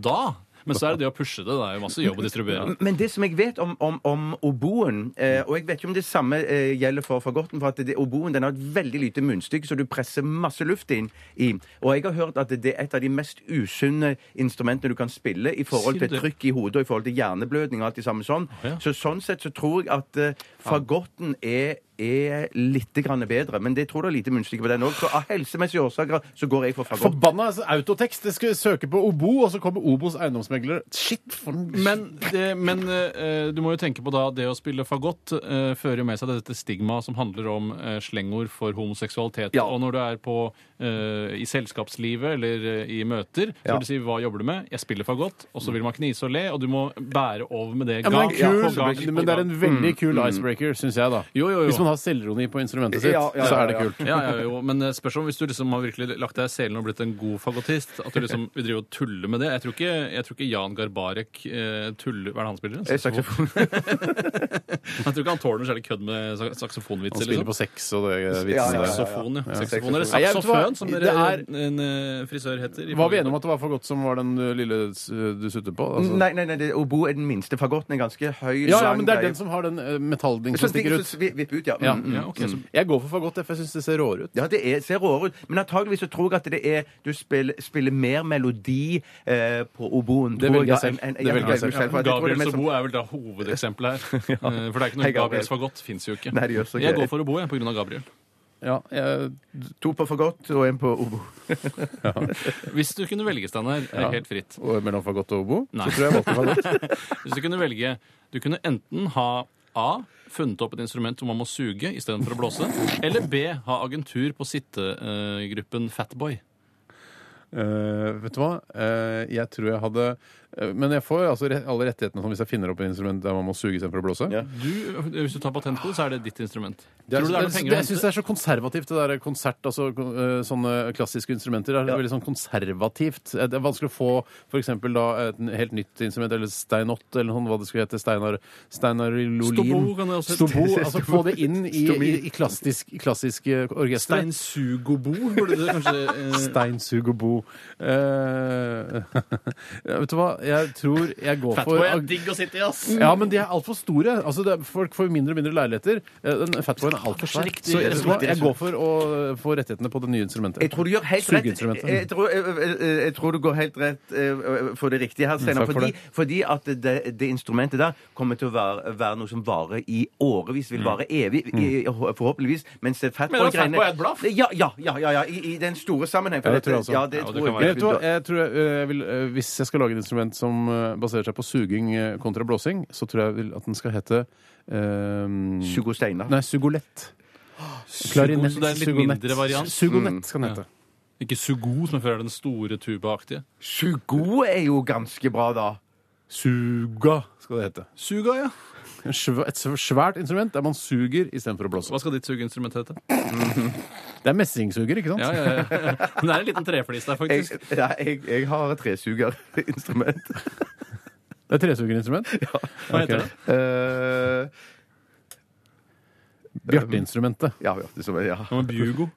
Da. Men så er det det å pushe det. Det er jo masse jobb å distribuere.
Men det som jeg vet om, om, om oboen, eh, og jeg vet ikke om det samme eh, gjelder for fagotten, for at det, oboen den har et veldig lite munnstykke, så du presser masse luft inn i. Og jeg har hørt at det er et av de mest usunne instrumentene du kan spille i
Sier
forhold
du
til
det?
trykk i hodet og i forhold til hjerneblødning og alt det samme sånn.
ja.
Så sånn sett så tror jeg at eh, fagotten er er litt grann bedre, men det tror jeg det er lite munnstykke på den òg. Så av helsemessige årsaker så går jeg for fagott.
Forbanna altså, autotekst! Jeg skulle søke på Obo, og så kommer Obos eiendomsmegler. Shit, for en
Men, det, men eh, du må jo tenke på da det å spille fagott eh, fører jo med seg dette stigmaet som handler om eh, slengord for homoseksualitet.
Ja.
Og når du er på, eh, i selskapslivet eller eh, i møter, så
Ja.
vil du si 'hva jobber du med?' 'Jeg spiller fagott', og så vil man knise og le, og du må bære over med det
ja, men, det er
gang
en
på
kul,
gang. på
men det er
gang.
en veldig kul icebreaker, syns jeg, da.
Jo, jo, jo.
Hvis man har selvironi på instrumentet sitt,
Ja, ja, ja,
så er det
ja.
kult.
Ja, ja, jo, men eh, spørs om hvis du liksom har virkelig lagt deg i selen og blitt en god fagottist, at du liksom vil drive og tulle med det. Jeg tror ikke, jeg tror ikke Jan Garbarek eh, tuller Hva er det han spiller?
Eh, saksofon.
Jeg tror ikke han tåler noe særlig kødd med sak-
Han
saksofonvitser.
spiller
Liksom.
på sex og det vitsen
Ja, ja, ja.
der.
Saksofon, ja. Saksofon, eller
Nei, jeg vet hva,
saksoføn, som
det
dere,
er-
en eh, frisør heter. i
Var vi
Norge.
enige om at det var for godt som var den ø, lille s- du sutter på? Altså.
Nei, nei, nei, det, obo er den minste. Fagotten er ganske høy.
Ja, ja,
lang
men det er
greie.
den som har den ø, metalldingen
Så
som stikker ut.
så vi- Vipp ut, ja.
Ja.
Mm, mm.
Ja, ok, så,
Jeg går for fagott, for jeg syns det ser råere ut.
Ja, det er, ser råere ut, men antageligvis så tror jeg at det er du spiller, spiller mer melodi eh, på oboen.
Det
tror
velger jeg
ja,
selv.
enn- enn-
Det
ja,
velger jeg selv.
for jeg tror det er
Gabriels
mest
obo er vel da hovedeksempelet her. Eh, For det er ikke noe
Hei, Gabriel.
Gabriels fagott. Fins jo ikke.
Nei, det gjør så
jeg
gøy.
går for obo, jeg, på grunn av Gabriel.
Ja, jeg,
som- To på fagott og en på obo.
Hvis du kunne velge, Steinar, eh, helt fritt
og mellom fagott og obo,
Nei.
så tror jeg jeg valgte fagott.
Hvis du kunne velge Du kunne enten ha A. Funnet opp et instrument hvor man må suge istedenfor å blåse. Eller B. Ha agentur på sittegruppen Fatboy.
Eh, vet du hva? Eh, jeg tror jeg hadde eh, Men jeg får jo altså re alle rettighetene sånn hvis jeg finner opp et instrument der man må suge istedenfor å blåse.
Ja.
Du, hvis du tar patent på det, så er det ditt instrument.
Det er,
Tror du det er noen
jeg-
penger å
det, jeg syns
hente?
det er så konservativt, det der konsert, altså kon- eh, sånne klassiske instrumenter. Det er veldig sånn konservativt. Eh, Det er vanskelig å få for eksempel da et n- helt nytt instrument, eller steinott, eller sånn, hva det skulle hete. Steinar, Steinar
Stobo
Lolin.
kan det også hete.
Stobo. Altså få det inn i, i, i klassisk, eh, i klassiske orkestre.
Steinsugobo burde det kanskje eh,
Steinsugerbo. Eh, ja, vet du hva, jeg tror jeg går for
Fatboy er digg å sitte i, ass!
Ja, men de er altfor store. Altså, det er, folk får mindre og mindre leiligheter. Eh, Den Fatboyen er altfor svær.
Riktig.
Så jeg,
Riktig,
jeg, går for å eh, få rettighetene på det nye instrumentet.
Jeg tror du gjør helt rett.
Eh,
Sugeinstrumentet.
Jeg tror, jeg, jeg, jeg tror du går helt rett eh, for det riktige her, Steinar.
Mm, Takk for
Fordi, fordi at det, det instrumentet der kommer til å være, være noe som varer i årevis.
Mm.
Vil vare evig, i, forhåpentligvis. Mens det
Men at
fatboy-greiene
Fatboy er et blaff?
Ja, ja, ja. ja, ja i, I den store sammenheng.
Ja,
for
det
dette-
tror jeg også.
Ja, det
Ja, det
tror
kan
jeg.
Men Eh, vet du hva? Jeg tror jeg, eh, jeg vil, eh, hvis jeg skal lage et instrument som eh, baserer seg på suging eh, kontra blåsing, så tror jeg vil at den skal hete eh,
Sugo Steinar.
Nei, sugolett.
Sugo, så det er en litt
sugonett.
mindre variant.
Sugonett skal den hete.
Ikke sugo, som før er den store tubaaktige.
Sugo er jo ganske bra, da.
Suga skal det hete.
Suga, ja.
En sv- Et sv- svært instrument der man suger istedenfor å blåse.
Hva skal ditt sugeinstrument hete?
Det er messingsuger, ikke sant?
Ja, ja, ja. Men det er en liten treflis der,
Jeg,
faktisk.
nei, jeg, jeg har et tresugerinstrument.
Det er tresugerinstrument.
Hva heter
Ok.
det?
Eh,
Bjarte-instrumentet.
ja, ja, det som er, ja.
Ja, men Bugo.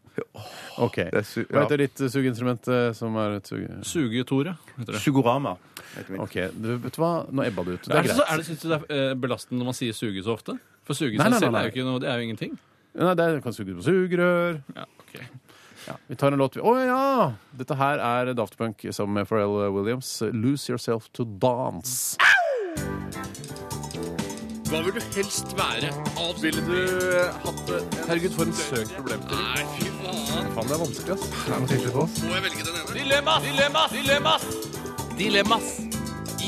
Ok.
er su-
Hva heter ditt eh, sugeinstrument eh, som er et suge...
Sugetore heter det.
Sugorama. heter mitt.
Ok, du, vet du hva? Nå ebba det ut. Det
Er
er
det, så,
greit.
er det, synes du det er eh, belastende når man sier suge så ofte? For suge
Nei,
seg
nei, nei,
selv
nei.
er jo ikke noe, det er jo ingenting.
Nei, det er, kan suge på sugerør.
Ja, ok.
Vi tar en låt. vi- Å ja! Dette her er Daft Punk sammen med Pharrell Williams. 'Lose Yourself to Dance'.
Hva vil du helst være? Ville du eh, hatt det?
Herregud, for en søk problemstilling.
Nei, fy faen.
Faen, det er vanskelig, ass.
Må jeg velge den ene?
Dilemmas! Dilemmas! Dilemmas! Dilemmas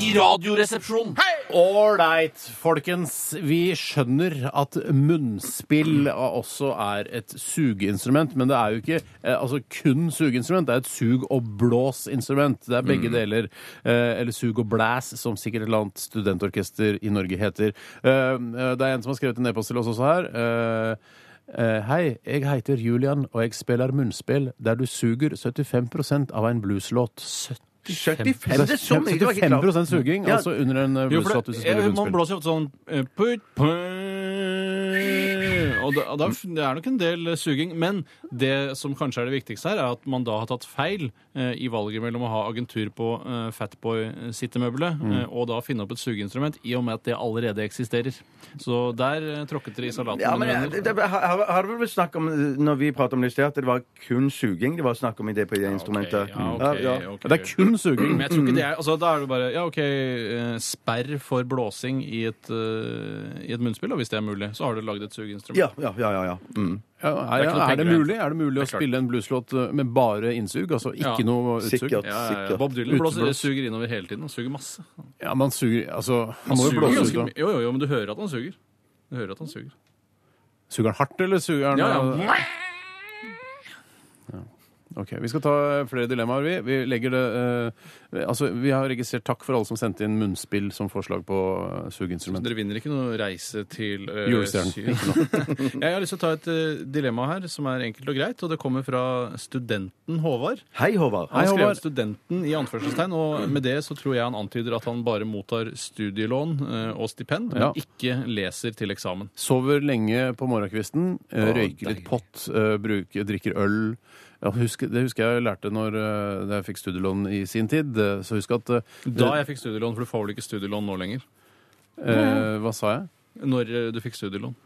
i Radioresepsjonen.
Ålreit, folkens. Vi skjønner at munnspill også er et sugeinstrument, men det er jo ikke eh, altså kun sugeinstrument. Det er et sug- og blåsinstrument. Det er begge deler. Eh, eller sug og blæs, som sikkert et eller annet studentorkester i Norge heter. Eh, eh, det er en som har skrevet en e-post til oss også her. Eh, Eh, Hei, jeg heter Julian, og jeg spiller munnspill der du suger 75 av en blueslåt.
75 Det er så mye! Det var ikke
75 suging,
Ja.
altså under en eh,
Jo, for det,
blueslåt hvis du
jeg,
spiller
man
munnspill.
blåser jo ofte sånn eh, put, put, og da, da, Det er nok en del eh, suging. Men det som kanskje er det viktigste her, er at man da har tatt feil eh, i valget mellom å ha agentur på eh, Fatboy-sittemøbelet eh, og da finne opp et sugeinstrument, i og med at det allerede eksisterer. Så der eh, tråkket dere i salaten.
Ja, men eh,
mine
det,
venner.
det, har, har det vel snakk om, når vi pratet om det i sted, at det var kun suging det var snakk om i det på det instrumentet?
Ja, ok,
Ja, ja.
ok.
Det er kun suging.
Men jeg tror ikke det er altså, Da er det bare ja, OK, eh, sperr for blåsing i et, eh, i et munnspill, og hvis det er mulig, så har du lagd et sugeinstrument.
Ja, ja, ja, ja, ja. Mm.
Ja, er,
Det er ikke noe
er, det
penger,
mulig, er det mulig å spille en blueslåt eh, med bare innsug? Altså ikke
Ja.
noe utsug?
Sikkert.
Ja, ja, ja.
sikkert.
Bob Dylan blåser,
Uteblås.
suger innover hele tiden. Han suger masse. Han
Ja, man suger Altså, han må jo
suger
blåse
ganske
ut. da.
mye. Jo, jo, jo, men du hører at han suger. Du hører at han suger.
Suger han hardt, eller suger han uh,
Ja, ja.
Ok, Vi skal ta eh, flere dilemmaer, vi. Vi legger det eh, Altså, vi har registrert takk for alle som sendte inn munnspill som forslag på eh, sugeinstrument.
Dere vinner ikke noe reise til eh,
Julestjernen.
Syden. Jeg har lyst til å ta et eh, dilemma her som er enkelt og greit, og det kommer fra studenten Håvard.
Hei, Håvard.
Han
Hei,
skrev
Håvard.
'studenten' i anførselstegn, og med det så tror jeg han antyder at han bare mottar studielån eh, og stipend, men
Ja.
ikke leser til eksamen.
Sover lenge på morgenkvisten, eh, røyker litt pott, eh, bruker, drikker øl. Ja, husk, det husker jeg lærte når, eh, da jeg fikk studielån i sin tid. eh, Så husk at eh,
Da jeg fikk studielån, for du får vel ikke studielån nå lenger?
eh, Hva sa jeg?
Når eh, du fikk studielån.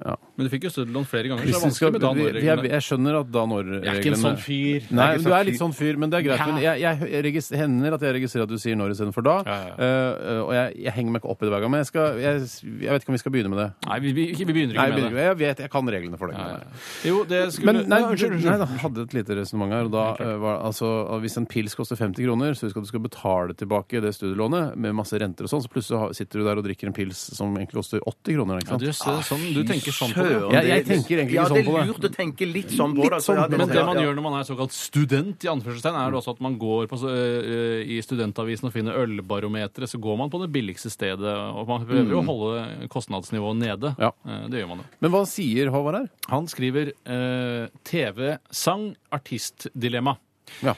Ja.
Men du fikk jo studielån flere ganger, så det er
Hvis vi
vanskelig
skal-
med da
vi- vi- jeg, jeg skjønner at da når-reglene
Jeg er ikke en sånn fyr.
Nei,
Jeg er
men du
ikke sånn
er litt
fyr.
sånn fyr, men det er greit.
Ja.
Men jeg, jeg, jeg regis- hender at jeg registrerer at du sier når istedenfor da.
Ja, ja, ja.
eh, eh, og jeg, jeg henger meg ikke opp i det hver gang. Men jeg, skal, jeg, jeg vet ikke om vi skal begynne med det.
sånn- Nei, vi, vi, ikke- vi begynner ikke
Nei, jeg,
med
begynner,
det.
ikke- jeg vet, jeg kan reglene for det.
Nei,
Nei.
nei. Jo, det skulle
Men nei,
Nei,
unnskyld, unnskyld. nei, da hadde et lite resonnement her. og Da, eh, var, altså, at hvis en pils koster 50 kroner, så husk at du skal betale tilbake det studielånet med masse renter og sånn, så plutselig har- sitter du der og drikker en pils som egentlig koster 80 kroner.
Ja,
Ikke sant?
du, så, sånn, du tenker sånn på det.
Jeg-
Søren,
jeg
det er litt-
tenker egentlig
ja,
ikke sånn på det.
Ja, det er lurt å tenke litt sånn på det.
sånn,
altså. Ja, det-
Men det man
ja, ja.
gjør når man er såkalt student, i anførselstegn, er det også at man går på, eh, i studentavisen og finner ølbarometeret, så går man på det billigste stedet, og man prøver jo å holde kostnadsnivået nede.
Mm. Ja.
Eh, Det gjør man jo.
Men hva sier Håvard her?
Han skriver eh, TV, sang, artistdilemma.
Ja.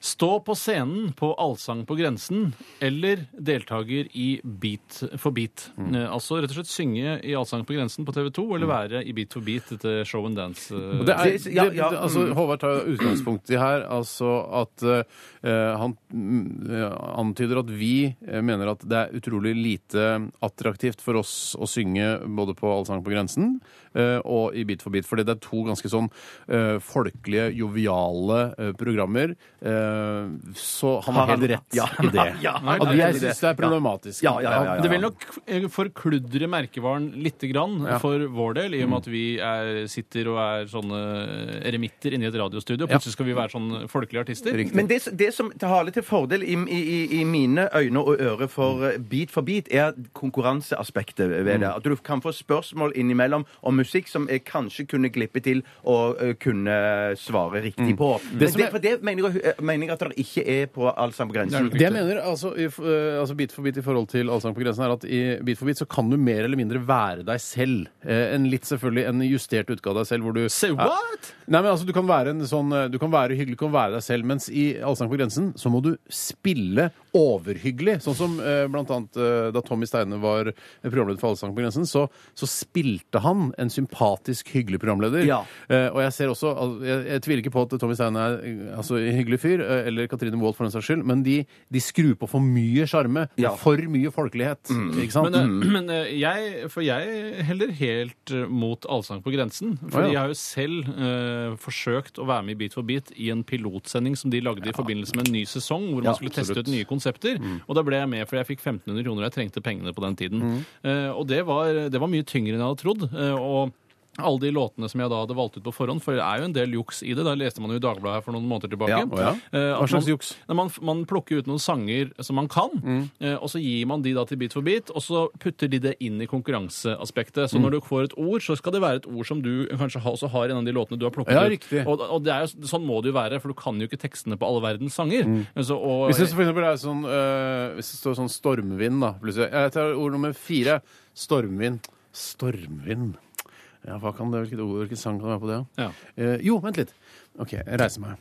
Stå på scenen på Allsang på grensen eller deltaker i Beat for beat.
Mm.
Eh, altså rett og slett synge i Allsang på grensen på TV 2 eller være i Beat for beat til show and dance. eh.
Og Det er,
Det- ja, ja, mm.
Det, det, altså, Håvard tar utgangspunkt i her altså at eh, han mm, eh, antyder at vi eh, mener at det er utrolig lite attraktivt for oss å synge både på Allsang på grensen eh, og i Bit for bit, fordi det er to ganske sånn eh, folkelige, joviale eh, programmer. Eh, så han har helt rett
Ja,
i det.
ja, han har
At
helt
jeg
rett i det.
syns det er problematisk.
Ja, ja, ja, ja, ja.
Det vil nok eh, forkludre merkevaren lite grann for vår del, i
Mm.
og med at vi er, sitter og er sånne eremitter inne i et radiostudio. Plutselig skal vi være sånne folkelige artister.
Riktig.
Men det, det som taler til fordel i, i, i- i mine øyne og ører
Mm.
for eh, Beat for beat, er konkurranseaspektet eh, ved det. At du kan få spørsmål innimellom om musikk som jeg kanskje kunne glippe til og eh, kunne svare riktig på. Men
Mm. som
det,
er-
for det mener jeg, eh, mener jeg at det ikke er på all samme grensen.
Det jeg mener, altså, i, f- eh, altså Bit for bit i forhold til Allsang på grensen, er at i Bit for bit så kan du mer eller mindre være deg selv. Eh, en litt selvfølgelig en justert utgave av deg selv hvor du
Say what?
Nei, men altså, du kan være en sånn eh, Du kan være hyggelig, du kan være deg selv, mens i Allsang på grensen så må du spille overhyggelig. Sånn som eh, blant annet eh, da Tommy Steine var programleder for Allsang på grensen, så, så spilte han en sympatisk, hyggelig programleder.
Ja.
Eh, og jeg ser også al- jeg, jeg tviler ikke på at Tommy Steine er eh, altså, en hyggelig fyr, eh, eh, eller Katrine Wold for den saks skyld, men de, de skrur på for mye sjarme.
Ja.
For mye folkelighet. Ikke sant? Mm.
Men, eh, men eh, jeg, for jeg heller helt eh, mot Allsang på grensen. Fordi
Å, ja.
jeg har jo selv eh, forsøkt å være med i Beat for beat i en pilotsending som de lagde i forbindelse med en ny sesong, hvor man skulle teste ut nye konsepter.
Mm.
Og da ble jeg med, for jeg fikk 1500 kroner, og jeg trengte pengene på den tiden.
Mm.
Eh, og det var, det var mye tyngre enn jeg hadde trodd. eh, og alle de låtene som jeg da hadde valgt ut på forhånd, for det er jo en del juks i det. Der leste man jo i Dagbladet her for noen måneder tilbake.
Ja, å
ja.
Eh, at
Hva slags
man-
juks? Mm.
Nei, man, man plukker ut noen sanger som man kan, eh, og så gir man de da til Bit for bit, og så putter de det inn i konkurranseaspektet.
Mm.
Så når du får et ord, så skal det være et ord som du kanskje ha, også har i en av de låtene du har plukket
Ja,
ut.
riktig.
Og, og det er jo, sånn må det jo være, for du kan jo ikke tekstene på alle verdens sanger. Så, og,
Mm. Hvis det for eksempel er sånn øh, Hvis det står sånn stormvind, da plutselig Jeg tar ord nummer fire. Stormvind. Stormvind. Ja, hva kan det, Hvilket ord, hvilken sang kan det være på det? da?
Ja.
Eh, jo, vent litt. OK, jeg reiser meg.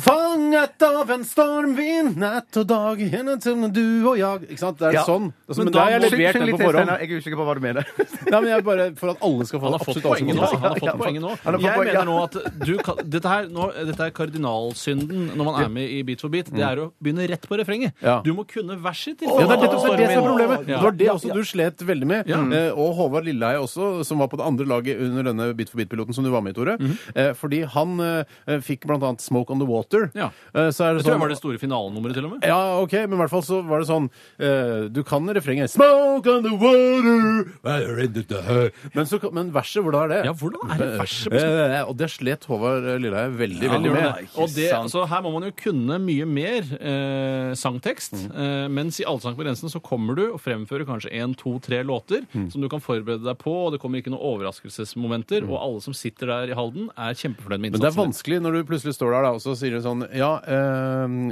Fanget av en stormvind, natt og dag, henne til du og jeg Ikke sant? Det er
Ja.
sånn. Det er sånn-
Men
men da har jeg
da må-
levert
Syng
den
litt
på
til,
forhånd.
Steinar. Jeg er usikker på hva du mener.
Nei, men jeg bare, For at alle skal få
Han har fått
absolutt alle som
poenget nå.
får
Han har
Ja,
fått
ja,
poenget nå.
han har fått
Jeg
poeng, ja.
mener nå at du kan, dette, her, nå, dette er kardinalsynden når man er med i Beat for beat. Det er å begynne rett på refrenget.
Mm. Ja.
Du må kunne verset til.
Ja, det er det, det, er det som er problemet.
Ja.
Det var det også du slet veldig med.
Ja.
Eh, og Håvard Lilleheie også, som var på det andre laget under denne Bit for bit-piloten som du var med i, Tore.
Mhm.
eh, fordi han eh, fikk blant annet Smoke on the Water.
Ja.
Eh, så er det
Jeg tror
sånn-
det var det store finalenummeret, til og med.
ja, OK, men i hvert fall så var det sånn eh, Du kan refrenget Smoke on the water where it is the hell». men, så, men verset, hvordan er det?
Ja, hvordan er det verset på
Eh, og det slet Håvard Lilleheie veldig,
Ja,
veldig
det
med.
gjorde det. Og det, altså, her må man jo kunne mye mer eh, sangtekst.
Mm.
Eh, mens i Allsang på grensen så kommer du og fremfører kanskje én, to, tre låter
Mm.
som du kan forberede deg på, og det kommer ikke noen overraskelsesmomenter. Og alle som sitter der i Halden, er kjempefornøyd med
Men det er
innsatsen. din.
vanskelig når du plutselig står der da, og så sier du sånn Ja,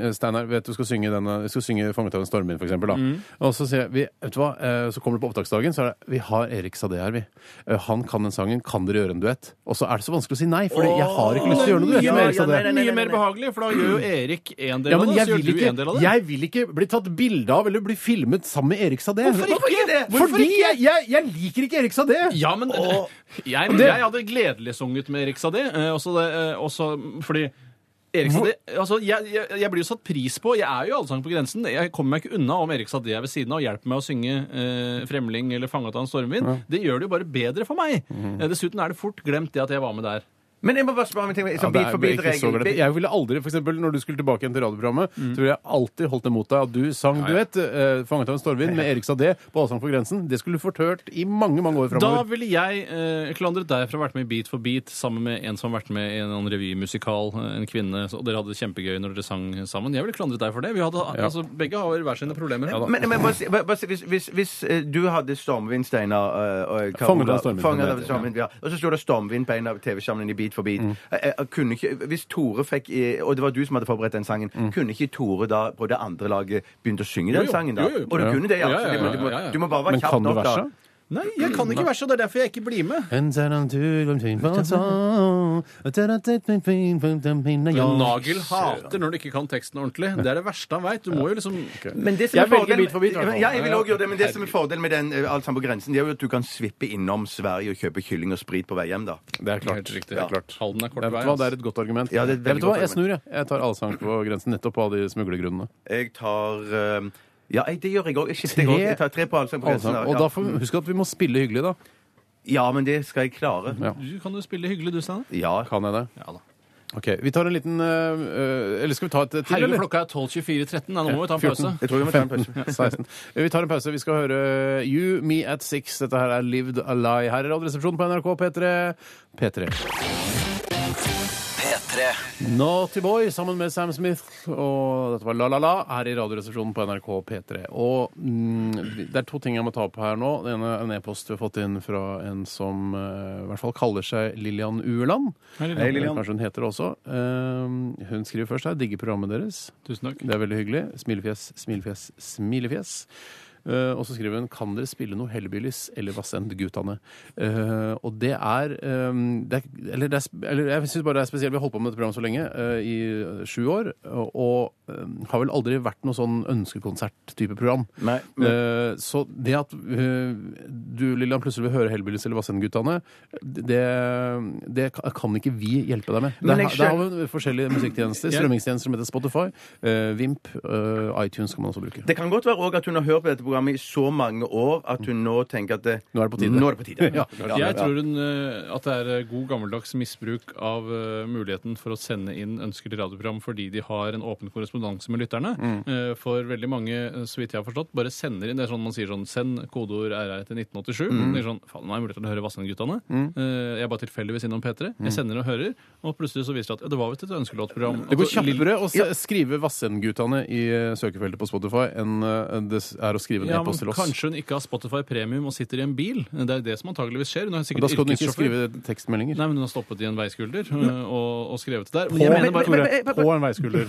eh, Steinar, vet du skal synge denne Vi skal synge 'Fanget av en stormvind', for eksempel. Da.
Mm.
Og så sier jeg vi, Vet du hva, eh, så kommer du på opptaksdagen, så er det Vi har Erik Sade her, vi. Eh, Han kan den sangen. Kan dere gjøre en duett? Og så er det så vanskelig å si nei, for jeg har ikke lyst til å gjøre noe duett
Mye
med
mer-
Erik Sade.
Mye mer behagelig, for da gjør jo Erik en del
Ja,
av
men
det,
jeg
så gjør
vil,
du en del
ikke,
av det.
jeg vil ikke bli tatt bilde av eller bli filmet sammen med Erik Sade.
Hvorfor ikke det? Hvorfor
Fordi
ikke?
Jeg, jeg, jeg liker ikke Erik Sade!
Ja, men jeg, jeg hadde gledelig sunget med Erik Sade, eh, også, det, eh, også fordi Erik Sade, altså, jeg, jeg, jeg blir jo satt pris på. Jeg er jo allsang på grensen. Jeg kommer meg ikke unna om Erik Sade er ved siden av og hjelper meg å synge eh, 'Fremling' eller 'Fanget av en stormvind'. Det gjør det jo bare bedre for meg. Eh, Dessuten er det fort glemt det at jeg var med der.
Men jeg må bare spørre om en ting.
Ja,
Sånn
det
bit
er
for
jo ikke så
bit-regel.
greit. Jeg ville aldri, for eksempel, når du skulle tilbake igjen til radioprogrammet,
Mm.
så ville jeg alltid holdt imot deg at du sang duett eh, 'Fanget av en stormvind' med Erik Sade på Allsang på grensen. Det skulle du fått hørt i mange, mange år
Da
framover.
ville jeg eh, klandret deg for å ha vært med i Beat for beat sammen med en som har vært med i en eller annen revymusikal, eh, en kvinne, så- og dere hadde det kjempegøy når dere sang sammen. Jeg ville klandret deg for det. Vi hadde, altså, begge har hver sine problemer. her.
Men, men bare, si- bare, bare, si- hvis, hvis, hvis eh, du hadde stormvind, Steinar eh, og Carola-
Fanget av stormvind,
Fanget av
heter det,
stormvind, ja. Og så sto det stormvind på en av TV-skjermene i Beat for
Mm.
beat. Eh, eh, kunne ikke, hvis Tore fikk eh, Og det var du som hadde forberedt den sangen.
Mm.
Kunne ikke Tore da på det andre laget begynt å synge
Jo, jo.
den sangen? da?
Jo, jo.
Og du
Ja.
kunne det, ja.
Ja, ja,
Så du
ja,
må- du må-
ja, ja.
Du må bare være
Men
kjapp
kan du
nok, da.
verset?
Nei, jeg kan ikke verset, og det er derfor jeg ikke blir med. Nagel hater når du ikke kan teksten ordentlig. Det er det verste han veit. Du må jo liksom
Men det som er
Jeg velger
fordelen-
Beat for Beat, i hvert fall.
Ja, jeg vil også gjøre det, men det som er fordelen med den eh, alt sammen på grensen, det er jo at du kan svippe innom Sverige og kjøpe kylling og sprit på vei hjem, da.
Det er klart.
Helt riktig.
Det er klart.
Halden er kort
Jeg vet
vei,
hva,
ass.
det er et godt argument.
Ja, det er
jeg
et
vet
veldig
hva,
godt
jeg snur, jeg. Jeg tar allsang på grensen nettopp av de smuglergrunnene.
Jeg tar eh, Ja, jeg- det gjør jeg òg. Jeg skifter jeg også. Jeg tar tre på allsang på grensen.
Allsang.
da.
Og
Ja.
da får vi huske at vi må spille hyggelig, da.
Ja, men det skal jeg klare.
Ja.
Du kan jo spille hyggelig, du, Steinar.
Ja.
Kan jeg det?
Ja da.
OK. Vi tar en liten øh, øh, Eller skal vi ta et til,
Herregud,
eller?
klokka er 12.24.13. Nei, Nå må vi ta en
14.
pause.
Jeg tror vi må ta en pause.
16. Vi tar en pause. Vi skal høre eh, You, Me at Six. Dette her er Lived a Lie. Her er Radioresepsjonen på NRK P3. P3.
P3.
Naughty Boy sammen med Sam Smith. Og dette var La La La her i Radioresepsjonen på NRK P3. Og mm, det er to ting jeg må ta opp her nå. Det ene er en e-post vi har fått inn fra en som eh, i hvert fall kaller seg Lillian Ueland.
Hei, Lillian.
Kanskje hun heter det også. Eh, hun skriver først her. Digger programmet deres.
Tusen takk.
Det er veldig hyggelig. Smilefjes, smilefjes, smilefjes. Eh, og så skriver hun 'Kan dere spille noe Hellbillies eller Vassendgutane?' Eh, og det er, eh, det er, eller, det er sp- eller jeg syns bare det er spesielt. Vi har holdt på med dette programmet så lenge, eh, i sju år, og, og eh, har vel aldri vært noe sånn ønskekonsert-type program.
Nei, men-
Eh, så det at eh, du, Lillian, plutselig vil høre Hellbillies eller Vassendgutane, det, det ka- kan ikke vi hjelpe deg med.
Men
Der,
jeg
har- der har vi forskjellige musikktjenester, strømmingstjenester som heter Spotify, eh, Vimp, eh, iTunes kan man også bruke.
Det kan godt være også at hun har hørt på dette programmet i så mange år at hun nå tenker at det,
Nå er det på tide.
Nå er det på tide.
Ja,
jeg tror hun, eh, at det er eh, god gammeldags misbruk av eh, muligheten for å sende inn ønsker til radioprogram fordi de har en åpen korrespondanse med lytterne.
Mm.
Eh, for veldig mange, eh, så vidt jeg har forstått, bare sender inn det er sånn man sier sånn Send kodeord RR til 1987.
Mm.
Det er sånn, Faen, nå har jeg mulighet til å høre Vassendgutane. Eh, jeg er bare tilfeldigvis innom P3.
Mm.
Jeg sender og hører, og plutselig så viser det at ja, det var visst et ønskelåtprogram.
Det går
Altså, Lill-
kjappere å s- skrive Vassendgutane i eh, søkefeltet på Spotify enn eh, det s- er å skrive en
Ja,
e-post til
men
oss.
Kanskje hun ikke har Spotify Premium og sitter i en bil. Det er det som antageligvis skjer. Hun er
Og
sikkert
Da skal du ikke
yrkessjåfør.
skrive tekstmeldinger.
Nei, men hun har stoppet i en veiskulder øh, og, og skrevet det der. Men
På,
jeg mener,
men-
bare,
men- men-
på en veiskulder.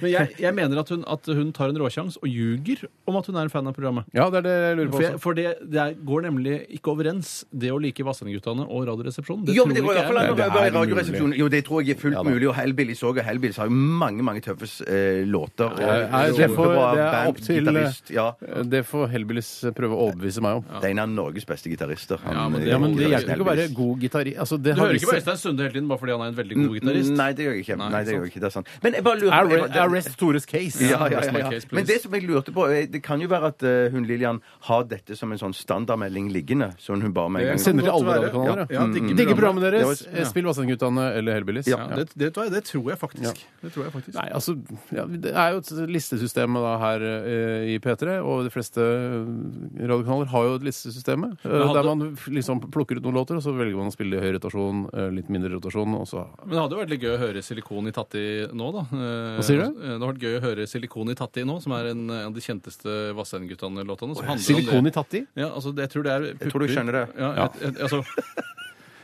men jeg, jeg mener at hun, at hun tar en råsjans og ljuger om at hun er en fan av programmet.
Ja, det er det jeg lurer på
For, jeg,
også.
for det, det er- går nemlig ikke overens, det å like Vassendgutane og Radioresepsjonen. Det
Jo, men
tror
det går i
ikke
hvert fall
jeg.
an å
Det er
være i
mulig.
Radioresepsjonen. Jo, det tror jeg er fullt mulig. Og Hellbillies òg. Og Hellbillies har jo mange mange tøffe eh, låter. Og
Nei, det, får,
kjempebra
det er
band,
opp til eh,
gitarist, Ja.
Det får Hellbillies eh, prøve å overbevise meg om.
Det er en av Norges beste gitarister. Han, eh,
Ja, men det-
Ja, men Det
gitaristen
hjelper ikke å være
Elvis.
god gitarist. Altså, det
Du
har
hører ikke på
vist seg-
Øystein Sunde hele tiden bare fordi han er en veldig god gitarist.
Nei, det gjør jeg ikke. Nei,
Nei,
det gjør
sant.
jeg ikke. Det er sant. Men jeg bare lurer jeg
Arre-
bare-
Arrest Tores case.
ja, ja,
Rest my
ja, ja.
case, please.
Men det som jeg lurte på, eh, det kan jo være at eh, hun Lillian har dette som en sånn standardmelding liggende. Sånn hun bare med en gang
Sender til
Godt
alle
være.
radiokanaler.
Ja, ja, digger
Mm. Digger programmet
programmet.
deres.
Det var- ja.
Spill Vassendgutane eller Hellbillies.
Ja, det, det, vet du hva, det tror jeg faktisk. Det tror jeg faktisk.
Nei, altså, ja, Det er jo et listesystem da, her eh, i P3, og de fleste eh, radiokanaler har jo et listesystem eh,
hadde-
der man f- liksom plukker ut noen låter, og så velger man å spille i høy rotasjon, eh, litt mindre rotasjon, og så
Men det hadde jo vært litt gøy å høre Silikon i Tatti nå, da. Hva
sier du?
Det hadde vært gøy å høre Silikon i Tatti nå, som er en av de kjenteste Vassendgutane-låtene. som handler om det.
Silikon i tatti?
Ja, altså, det, jeg tror det er pupper.
tror du skjønner det.
Ja,
Ja.
Et, et, altså,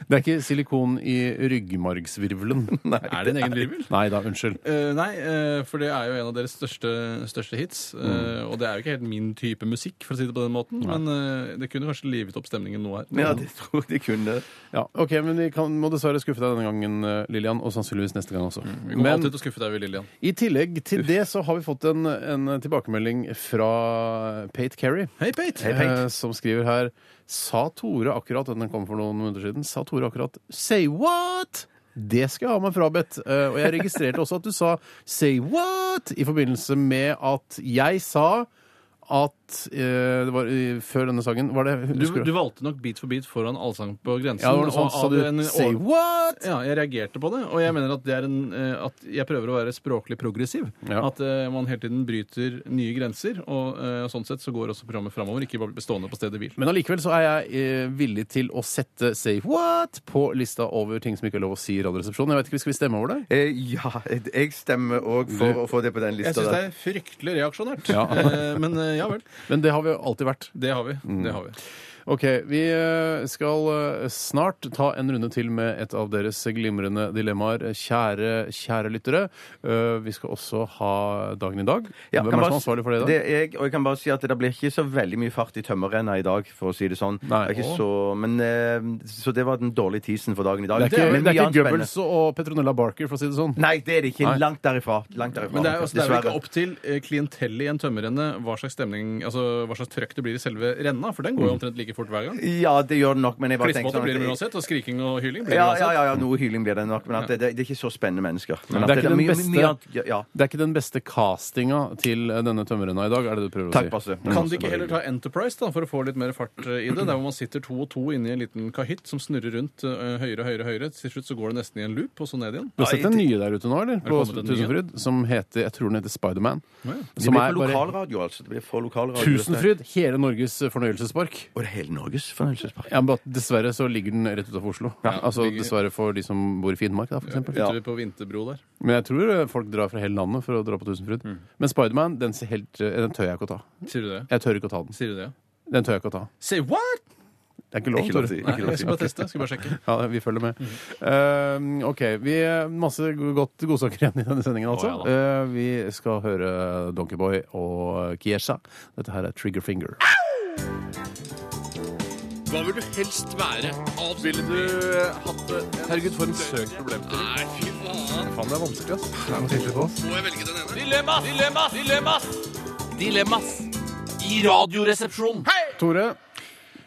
Det er ikke silikon i ryggmargsvirvelen. Nei,
er det en egen virvel?
da, unnskyld.
Eh, nei, eh, for det er jo en av deres største, største hits. eh,
Mm.
og det er jo ikke helt min type musikk, for å si det på den måten, men eh, det kunne kanskje livet opp stemningen nå her.
Ja, det tror jeg de kunne.
Ja, ok, Men vi kan, må dessverre skuffe deg denne gangen, eh, Lillian, og sannsynligvis neste gang også.
Mm, Vi kommer
Men
alltid til å skuffe deg, vi, Lillian.
i tillegg til det så har vi fått en, en tilbakemelding fra Pate Kerry.
Hei, Pate!
eh, som skriver her Sa Tore akkurat Den kom for noen minutter siden. Sa Tore akkurat Say what? Det skal jeg ha meg frabedt. Eh, og jeg registrerte også at du sa say what i forbindelse med at jeg sa at eh, det var eh, Før denne sangen var det
Du,
husker
du valgte nok Beat for beat foran Allsang på grensen.
Ja, det var
og
noe sånt. Sa
av
du
en
say
over-
what?
Ja, jeg reagerte på det, og jeg mener at, det er en, eh, at jeg prøver å være språklig progressiv.
Ja.
At eh, man hele tiden bryter nye grenser, og eh, sånn sett så går også programmet framover, ikke bare blir stående på stedet hvil.
Men allikevel så er jeg eh, villig til å sette say what på lista over ting som ikke er lov å si i Radioresepsjonen. Jeg vet ikke, Skal vi stemme over det?
Eh, ja, jeg stemmer òg for å få det på den
Jeg
lista.
syns det
der.
er fryktelig reaksjonært,
Ja.
Eh, men eh, ja vel.
Men det har vi jo alltid vært.
Det har vi.
Mm.
Det har vi.
Ok, vi eh, skal eh, snart ta en runde til med et av deres glimrende dilemmaer, kjære, kjære lyttere. Eh, Vi skal også ha dagen i dag.
Ja,
Hvem
kan
er
bare
som er ansvarlig for det i dag?
Det er jeg, og jeg kan bare si at det blir ikke så veldig mye fart i tømmerrenna i dag, for å si det sånn.
Nei.
Det er ikke så, men, eh, så det var den dårlige teasen for dagen i dag.
Det er ikke,
Men
det er
mye
ikke
annet
Goebbels
spennende.
og Petronella Barker, for å si det sånn.
Nei, det er det ikke.
Nei.
Langt derifra. Langt derifra.
Men det er, altså, det er vel ikke
Dessverre.
opp til eh, klientellet i en tømmerrenne hva slags stemning, altså hva slags trøkk det blir i selve renna, for den går jo omtrent like fort hver gang.
Ja, det gjør det nok, men jeg Mm. bare tenker
Klissvåte
sånn
blir det
at-
uansett, og skriking og hyling blir det
ja, ja,
uansett.
ja, ja, noe hyling blir det nok, men at det, det, det er ikke så spennende mennesker. Men at
Det er ikke den
mye-
beste-
mye annet- ja, ja.
Det er ikke den beste castinga til eh, denne tømmerrenna i dag, er det du prøver å
Takk,
si?
Basse.
Kan de ikke heller ta Enterprise da, for å få litt mer fart eh, i det? Der hvor man sitter to og to inni en liten kahytt som snurrer rundt eh, høyere og høyere. og høyere. Til slutt så går det nesten i en loop, og så ned igjen.
Du har sett den nye der ute nå, eller? På
kommet en ny?
Tusenfryd, som heter, jeg tror den heter Spiderman.
Det
Som
blir
er
på
bare
lokalradio, altså. Det blir for lokalradio.
Tusenfryd, hele Norges fornøyelsespark.
Og det er hele Norges fornøyelsespark.
Ja, men bare at Dessverre så ligger den rett utafor Oslo. altså
ligger-
Dessverre for de som bor i Finnmark, da, for eksempel.
Ute på Vinterbro der.
Men jeg tror eh, folk drar fra hele landet for å dra på Tusenfryd.
Mm.
Men Spiderman, den, ser helt, eh, den tør jeg ikke å ta.
Sier du det?
Jeg tør ikke å ta den.
Sier du det?
Den tør jeg ikke å ta.
Say what?
Jeg Det er ikke lov,
Ikke lov
Tore.
til.
Nei.
Ikke
Jeg skal bare teste. Skal bare sjekke.
Ja, vi følger med. Eh, OK. vi Masse godt godsaker igjen i denne sendingen, altså.
Å,
Eh, vi skal høre Donkeyboy og Kiesha. Dette her er Trigger Finger.
Hva vil du helst være? Avspille
Ville du hatt det? Herregud, for en søk problemstilling.
Nei, fy faen.
Faen, det er vanskelig, ass.
Må jeg velge den ene? Dilemmas! Dilemmas! Dilemmas! Dilemmas i Radioresepsjonen.
Tore,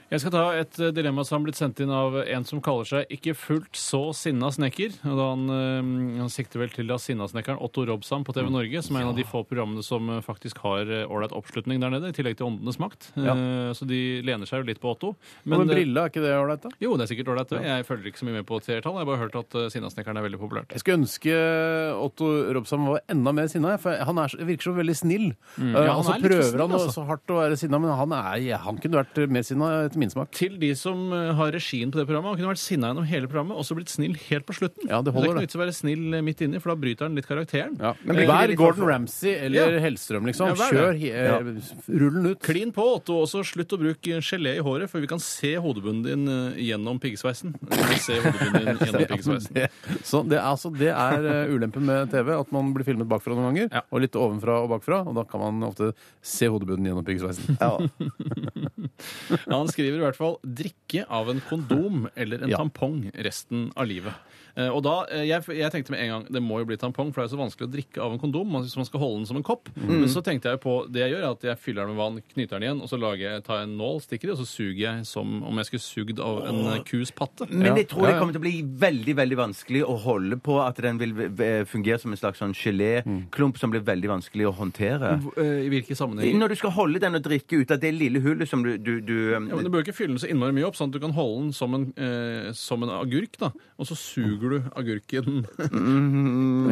Jeg skal ta et eh, dilemma som har blitt sendt inn av en som kaller seg ikke fullt så sinna snekker. Og da han, eh, han sikter vel til da sinnasnekkeren Otto Robsam på TV
Mm.
Norge, som er en av de få programmene som eh, faktisk har eh, ålreit oppslutning der nede, i tillegg til Åndenes makt. Eh, Så de lener seg jo litt på Otto.
men,
eh,
brilla, er ikke det ålreit, da?
Jo, det er sikkert ålreit. det. Jeg følger ikke så mye med på tiertall. Jeg har bare hørt at eh, sinnasnekkeren er veldig populært.
Jeg skulle ønske Otto Robsam var enda mer sinna, for han er, så- virker så veldig snill. Mm.
Ja, han
og så
er litt
prøver
snill,
han
altså.
så hardt å være sinna, men han, er, han kunne vært mer sinna etter min smak.
Til de som eh, har regien på det programmet. Han kunne vært sinna gjennom hele programmet og så blitt snill helt på slutten.
Ja, det
er
holder,
ikke
det.
noe vits å være snill eh, midt inni, for da bryter han litt karakteren. Eh,
Ja.
Men blir ikke det
Vær
litt
Gordon
for-
Ramsay eller
Ja.
Hellstrøm, liksom.
Ja, vær det.
Kjør he- eh, Rull den ut.
Klin på, Otto. Også slutt å bruke gelé i håret, for vi kan se hodebunnen din eh, gjennom piggsveisen. Vi kan se hodebunnen din gjennom piggsveisen.
Det, så det, er- altså, det er eh, ulempen med TV, at man blir filmet bakfra noen ganger.
Ja.
Og litt ovenfra og bakfra, og da kan man ofte se hodebunnen gjennom piggsveisen.
Ja.
Ja, han skriver i hvert fall 'drikke av en kondom eller en
Ja.
tampong resten av livet'. Eh, Og da, eh, jeg, jeg tenkte med en gang det må jo bli tampong, for det er jo så vanskelig å drikke av en kondom. Man, hvis man skal holde den som en kopp. Men så tenkte jeg jo på det jeg gjør, er at jeg fyller den med vann, knyter den igjen, og så lager jeg, tar jeg en nål, stikker i, og så suger jeg som om jeg skulle sugd av en eh, kus patte.
Men jeg tror
Ja,
det
ja.
kommer til å bli veldig veldig vanskelig å holde på at den vil eh, fungere som en slags sånn geléklump som blir veldig vanskelig å håndtere.
Eh, I hvilke sammenhenger?
Når du skal holde den og drikke ut av det lille hullet som du, du, du um,
Ja, men Du bør ikke fylle den så innmari mye opp, sånn at du kan holde den som en, eh, som en agurk. da, Og så suger du agurken.
Mm,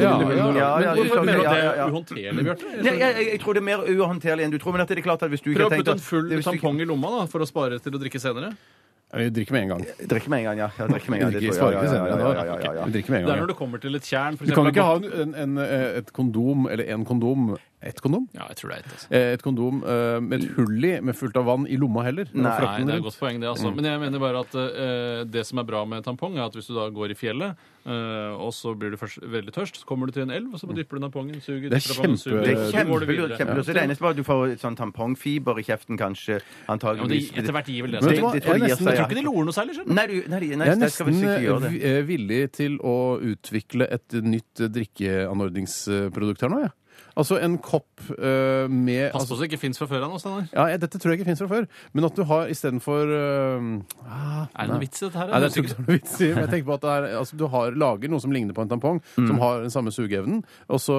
Ja, ja.
ja, ja,
Men
ja, du
Hvorfor
skjønner,
mener du
ja,
at det
ja,
er
ja.
uhåndterlig, Bjarte?
Nei, jeg, jeg, jeg tror det er mer uhåndterlig enn du tror. Men at det er klart at hvis du ikke
Prøv
har
å
tenkt
putte en full
hvis du ikke-
tampong i lomma da, for å spare til å drikke senere.
Vi drikker med en gang. Vi
Drikke med en gang, ja. ja drikke med en gang,
drikker,
det tror
svarer
jeg. Ja,
ikke
ja, ja,
senere.
ja, ja, ja, ja.
Vi drikker med en
Det er
gang.
når du kommer til et tjern. For
Du kan
eksempel,
ikke ha en, en, en, eh, et kondom eller en kondom Et kondom?
Ja, jeg tror det er et, altså.
Eh, Et kondom eh, med et hull i, med fullt av vann i lomma heller.
Nei,
Og frakten
Nei, det er et
rundt.
godt poeng, det.
Mm.
altså. Men jeg mener bare at eh, det som er bra med tampong, er at hvis du da går i fjellet, eh, og så blir du først veldig tørst, så kommer du til en elv, og så bare dypper du tampongen, suger
Det er
dypper tampongen, suger,
Mm. Det
kjempe-
er
så går du videre.
kjempelurt. kjempelurt. Så Det eneste var at du får et sånn tampongfiber i kjeften, kanskje.
Ja, men det,
Antageligvis.
etter hvert gir vel det seg.
Men vet du hva?
det tror
Jeg er
jeg gir
nesten-
seg,
jeg
ja.
Jeg tror ikke det loer noe særlig, skjønner du.
Nei, du, nei, nei,
Jeg er
det skal vi
nesten
sikkert gjøre det.
vi- eh, villig til å utvikle et nytt eh, drikkeanordningsprodukt her nå, jeg. Altså en kopp eh, med
Pass på så det ikke fins fra før av noe, Steinar.
Ja, jeg, Dette tror jeg ikke fins fra før. Men at du har istedenfor uh,
Er det noen vits i dette her?
Nei, det
Jeg
er ikke
vet ikke.
noe vits i. Men jeg tenker på at det er, altså, du har, lager noe som ligner på en tampong, som har den samme sugeevnen, og så,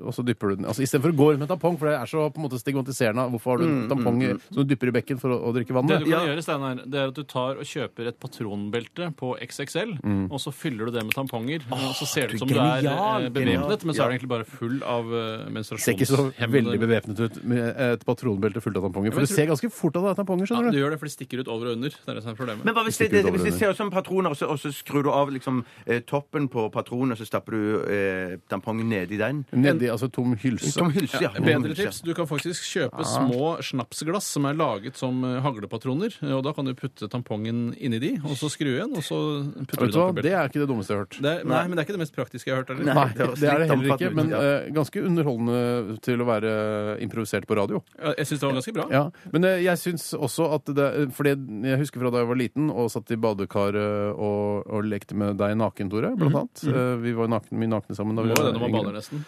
og så dypper du den. Altså Istedenfor å gå rundt med en tampong, for det er så på en måte stigmatiserende. Hvorfor har du en tampong i- som du dypper i bekken for å, å drikke vann
Det
med?
du kan gjøre, Steinar, det er at du tar og kjøper et patronbelte på XXL,
Mm.
og så fyller du det med tamponger, og så ser det ut som du er eh,
genial,
bevæpnet, men så
Ja.
er det egentlig bare full av eh,
Ser ikke så veldig
menstruasjonshemmende
bevæpnet ut med et patronbelte fullt av tamponger.
men
For du
jeg
ser ganske fort at det er tamponger,
ja,
skjønner
Du
du.
gjør det, for det stikker ut over og under. Det er det som er problemet.
Men hva hvis
Hvis
det,
ikke
det,
du
hvis det
overlever.
ser ut som patroner, og så, og så skrur du av liksom, eh, toppen på patronen, og så stapper du eh, tampongen nedi den?
Nedi altså tom hylse.
Som hylse, ja. Tom
Bedre
hylse.
tips. Du kan faktisk
Ah.
kjøpe små snapsglass som er laget som eh, haglepatroner. eh, Og da kan du putte tampongen inni de, og så skru igjen, og så putter
Vet
du det
du hva,
oppi
det
beltet.
er ikke det dummeste jeg har hørt.
Det er- Nei, men det er ikke det mest praktiske jeg har hørt. eller?
Nei.
Nei,
det
det
høres
er det
litt
heller ikke,
omfattende ut,
men
ja.
eh, ganske underholdende til å være improvisert på radio.
Ja, Jeg syns det var ganske bra.
Ja, Men eh, jeg syns også at det eh, Fordi jeg husker fra da jeg var liten og satt i badekaret og, og lekte med deg naken, Tore,
Mhm,
blant annet. Eh, Vi var nakne, mye nakne sammen da vi
Må jo det når man
yngre.
bader, nesten.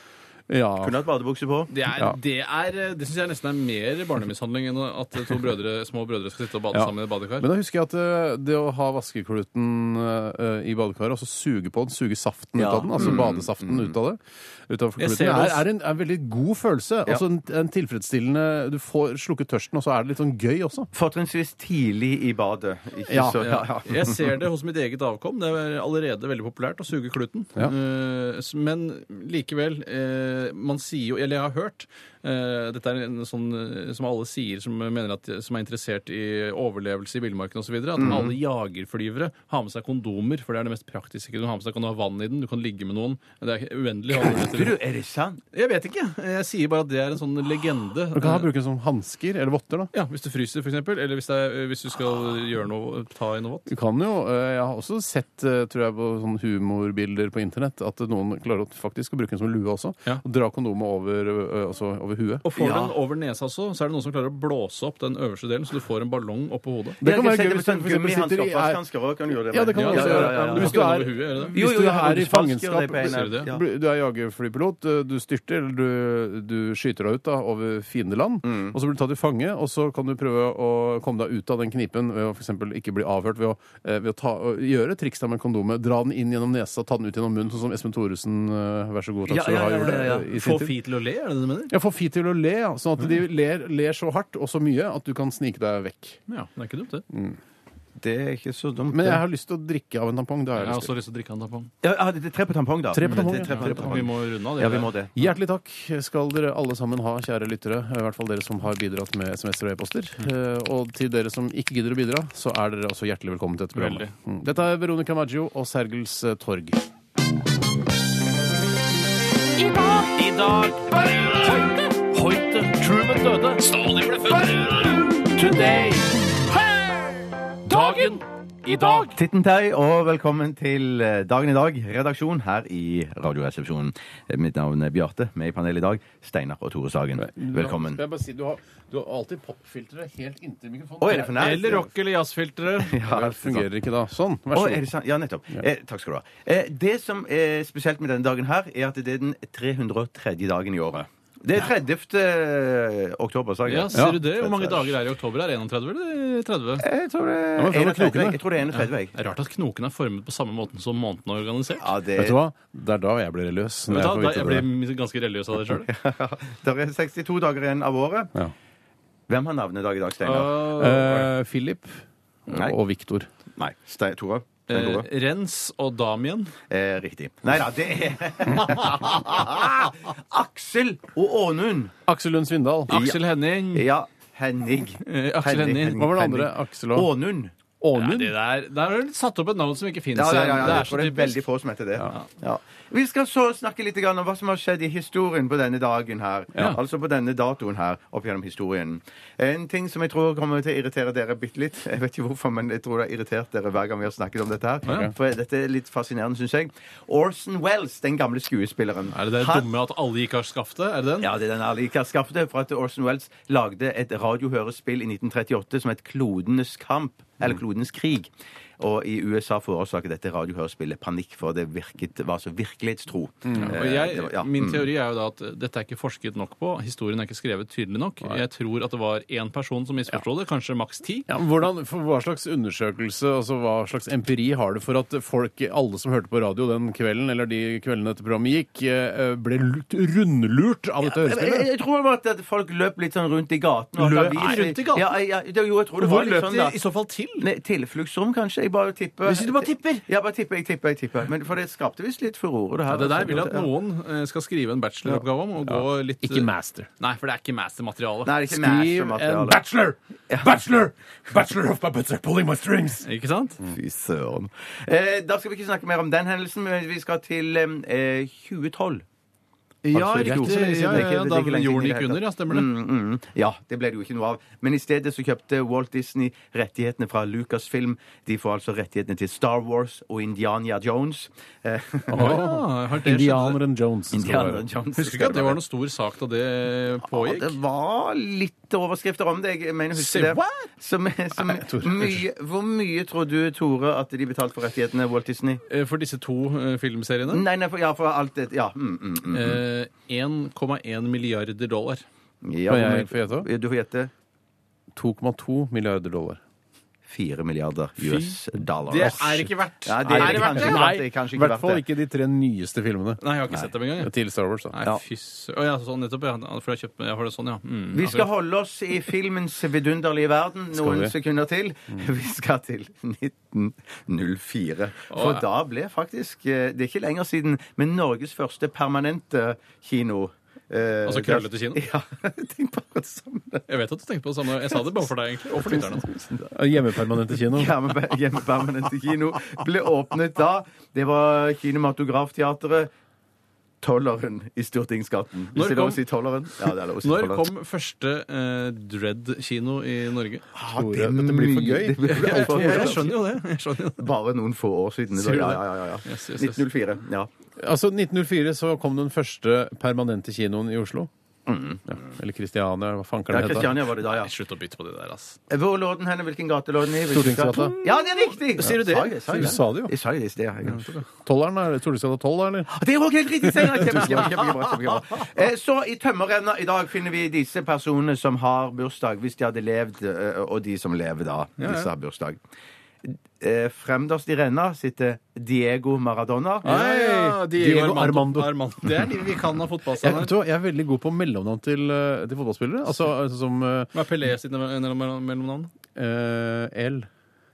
Ja.
Kunne hatt badebukse på.
Det, er,
Ja.
det, er, eh, det syns jeg nesten er mer barnemishandling enn at to brødre, små brødre skal sitte og bade
Ja.
sammen i et badekar.
Men da husker jeg at eh, det å ha vaskekluten eh, i badekaret og så suge på den, suge saften ut
Ja. Mm.
av den, altså badesaften ut av det, utenfor
Jeg
kluten,
ser det
er,
også.
er, en, er en veldig god følelse. Altså en, en tilfredsstillende Du får slukket tørsten, og så er det litt sånn gøy også.
Fortrinnsvis tidlig i badet. Ikke
Ja,
så, ja, ja.
Jeg ser det hos mitt eget avkom. Det er allerede veldig populært å suge kluten.
Ja.
Eh, s- Men likevel, eh, man sier jo, eller jeg har hørt, eh, eh, dette er en sånn eh, som alle sier som mener at som er interessert i overlevelse i villmarken osv. At
Mhm.
alle jagerflyvere har med seg kondomer, for det er det mest praktiske du kan ha med seg. Du kan ha vann i den, du kan ligge med noen. Det er uendelig.
Tror du, er det sant?
Jeg vet ikke. Jeg sier bare at det er en sånn legende.
Du kan ha bruke den som hansker eller votter. da.
Ja, Hvis du fryser, f.eks., eller hvis, det er, hvis du skal gjøre noe, ta i noe vått.
Du kan jo, eh, Jeg har også sett eh, tror jeg, på sånne humorbilder på internett at noen klarer å faktisk å bruke den som lue også.
Ja.
Og dra kondomet over, eh, altså over huet.
Og får du den over nesa også, så er det noen som klarer å blåse opp den øverste delen, så du får en ballong oppå hodet.
Det
Jeg
kan
har
være
ikke
gøy
sett
hvis
det,
du
men
for eksempel
sånn
sitter i er-
Gummihandskapaskansker også kan du gjøre det
Ja, det kan
med.
man også gjøre.
ja.
Men Hvis
Skal
du
den
er,
over huet, er det det?
Jo,
hvis
jo,
du
jeg
er
har
i
hodet fast, gjør det
fangenskap
på en
Ser du det?
Ja.
blir- Du er jagerflypilot, eh, du styrter, eller du, du skyter deg ut da, over fiendeland.
Mm.
Og så blir du tatt i fange, og så kan du prøve å komme deg ut av den knipen ved å for eksempel ikke bli avhørt ved å, eh, ved å ta, å gjøre triks da med kondomet. Dra den inn gjennom nesa, ta den ut gjennom munnen, sånn som Espen Thoresen, eh, vær så god, takk
Ja,
skal du
ja,
ha,
ja,
gjorde
ja, ja.
eh, i sin
Få
tid.
fi til å le, er det det du mener?
Ja, få fi til å le, ja. Sånn at de
Mm.
ler, ler så hardt og så mye at du kan snike deg vekk.
Ja, det er ikke dumt, det.
Det er ikke så dumt.
Men
det.
jeg har lyst til å drikke av en tampong. Det har
Jeg
jeg
har
lyst til.
også lyst til å drikke en tampong.
Ja, ja, det er tre på tampong, da.
Tre på tampong,
Det er
ja.
tre på
Vi
tampong.
må runde av det.
Ja, vi må det.
Hjertelig takk skal dere alle sammen ha, kjære lyttere. I hvert fall dere som har bidratt med SMS-er og e-poster. Eh, Og til dere som ikke gidder å bidra, så er dere også hjertelig velkommen til dette programmet. Mm. Dette er Veronica Maggio og Sergels eh, torg.
I dag Hoite Truman døde Stalin ble født Today Dagen I dag
Titten Tei, og velkommen til eh, Dagen i dag, redaksjon her i Radioresepsjonen. Eh, Mitt navn er Bjarte, med i panelet i dag, Steinar og Tore Sagen. Velkommen.
Jeg bare si, du, har, du har alltid popfilteret helt inntil mikrofonen.
Å, er det for nært?
Eller rock- eller jazzfiltre.
Ja,
Det fungerer ikke da. Sånn, vær så
Å, er det
god.
sant? Ja, nettopp. Eh, takk skal du ha. Eh, det som er spesielt med denne dagen her, er at det er den 303. dagen i året. Det er 30. oktober, sa jeg.
Ja, ser du det? Hvor mange dager er det i oktober? Er det 31 eller 30?
Eh, Jeg tror det
men
er
fra
31.
knokene.
Jeg tror det er 31. jeg.
Det er rart at knokene er formet på samme måten som måneden er organisert.
Ja, det
Vet du hva? Det er da jeg blir løs. når
Vet du hva?
får
Da-
vite
jeg
det.
blir ganske religiøs av det sjøl.
Der er 62 dager igjen av året.
Ja.
Hvem har navnedag i dag, Steinar?
Eh, Philip
Nei.
og Victor.
Nei. Stein, Tore? Stein
Eh,
Tore?
Rens og Damien.
Eh, riktig. Nei da, det er Aksel og Ånund.
Aksel Lund Svindal.
Aksel Henning.
Ja, Henning.
Eh, Aksel Henning.
Hva var det andre? Aksel og
Ånund.
Nei,
Ånund?
det der, der har du satt opp et navn som ikke fins.
Ja, ja, ja,
det
ja.
er
For
så
det er veldig
typisk.
få som heter det. Ja. Vi skal så snakke litt grann om hva som har skjedd i historien på denne dagen her. Altså på denne datoen her opp gjennom historien. En ting som jeg tror kommer til å irritere dere bitte litt. Jeg vet ikke hvorfor, men jeg tror det har irritert dere hver gang vi har snakket om dette her. For dette er litt fascinerende, syns jeg. Orson Wells, den gamle skuespilleren.
Er det det
Han-
dumme at alle ikke har skaffet det? Er det den?
Ja, det er den Alika skaffet for at Orson Welles lagde et radiohørespill i 1938 som het Klodenes kamp,
Mm.
eller Klodenes krig. Og i USA forårsaket dette radiohørespillet panikk, for det virket, var så virkelighetstro. Eh,
Mm. Og jeg,
det var- ja,
min
mm.
teori er jo da at dette er ikke forsket nok på. Historien er ikke skrevet tydelig nok. Jeg tror at det var én person som misforsto det, kanskje maks ti.
Ja, men hvordan, for Hva slags undersøkelse altså hva slags empiri har du for at folk, alle som hørte på radio den kvelden, eller de kveldene dette programmet gikk, eh, ble lurt- rundlurt av dette
Jeg,
eh,
jeg-
hørespillet?
jeg tror det var at folk løp litt sånn rundt i gaten. og at
Løp
aviser-
rundt i gaten?
Ja, ja, det, jo, jeg tror det var
Hvor
litt
løp
sånn,
de
da.
liksom i så fall til?
Nei, Tilfluktsrom, kanskje? Jeg bare tipper.
Hvis du bare tipper?
Ja, bare tipper, jeg tipper, jeg tipper. Men for det skapte visst litt furore, det her.
Ja, det der vil jeg at
Ja.
noen eh, skal skrive en bacheloroppgave om. og gå litt...
Ikke master.
Nei, for det er ikke mastermateriale.
Nei, det er ikke
Skriv en
mastermateriale.
bachelor! Bachelor! Bachelor of my butts are pulling my strings!
Ikke sant?
Fy søren. Eh, da skal vi ikke snakke mer om den hendelsen, men vi skal til eh, 2012.
Ah,
Ja,
Altså,
riktig.
rett-
Ja,
Det er
ja,
ikke- det
ja.
er ikke
da
lenge siden
jorden
i det
gikk
hele
under,
tatt.
ja, stemmer det.
Mm, mm. Ja, det ble det jo ikke noe av. Men i stedet så kjøpte Walt Disney rettighetene fra Lucasfilm. De får altså rettighetene til Star Wars og Indiana Jones. Eh,
Ah, Ja, har det skjedd?
Indianeren Jones. skal det
Indiana
være.
Jones.
Husker ikke at det var noen stor sak da det
Ja,
pågikk.
det var litt overskrifter om det. Jeg mener,
Say
husker du det.
what?
Som, som,
Nei, Tore,
mye, hvor mye tror du, Tore, at de betalte for rettighetene, Walt Disney?
Eh, For disse to eh, filmseriene
Nei, nei, for, ja, for alt det Ja. Mm, mm, mm.
eh, 1,1 milliarder dollar.
mm. ja
Kan
hvor
jeg
mye-
få gjette?
Du får gjette.
2,2 milliarder dollar.
4 milliarder US dollar.
Det er ikke verdt.
Nei, det er,
det verdt
kanskje ikke verdt det. Kanskje
I
ikke
hvert
verdt
fall
det.
ikke de tre nyeste filmene
Nei, jeg har ikke sett dem engang. jeg.
til Star Wars. da.
Nei, fy sø... Å ja, sånn nettopp. Ja. For jeg har kjøpt meg ja, for det er sånn, ja. Mm,
Vi skal
akkurat.
holde oss i filmens vidunderlige verden noen
vi?
sekunder til. Vi skal til 1904. For
Åh.
da ble faktisk eh, Det er ikke lenger siden, men Norges første permanente kino eh,
Altså krøllete kino?
Ja. Tenk på akkurat det samme.
Jeg vet at du tenkte på det samme. Jeg sa det bare for deg, egentlig. Og for lytterne.
Hjemmepermanente kino.
Hjemme- Hjemmepermanente kino ble åpnet da. Det var Kinematografteatret. Tolleren i Stortingsgaten.
Når
Hvis det er lov
kom-
å si Tolleren? Ja, det er lov å si
Når
Tolleren.
kom første eh, Dread-kino i Norge?
Ah, det
Tore, dette blir for
mye-
gøy.
det blir altfor gøy.
Jeg skjønner jo det. Jeg skjønner jo det.
Bare noen få år siden.
Sier du
Ja,
det?
ja, ja, ja.
Yes, yes, yes.
1904. Ja.
Altså, 1904 så kom den første permanente kinoen i Oslo. Ja. Eller Kristiania, hva fanker
ja,
det heter.
Kristiania var det da, ja.
Slutt å bytte på det der, ass.
Hvor lå den hen? Hvilken gate lå den i? Hvilken
Stortingsgata.
gate? Ja, det er riktig!
Sier du det?
Ja, sa jeg, sa jeg
Du sa det jo.
Jeg sa jo det i sted. ja, jeg-
Tolleren, er det Stortingsgata 12, da, eller?
Ah, Det er òg helt riktig! Steinar. Kjempebra, kjempebra, kjempebra. Eh, Så i tømmerrenna i dag finner vi disse personene som har bursdag, hvis de hadde levd, eh, og de som lever da. Disse har bursdag. Eh, Fremderst i renna sitter Diego Maradona.
Hei! Diego Armando.
Det er de vi kan av
Jeg, vet
fotballstjerner.
du hva, jeg er veldig god på mellomnavn til, eh, til fotballspillere. Altså eh, sånn som eh,
Hva er Pelé sitt mellom- mellom- mellomnavn?
eh, L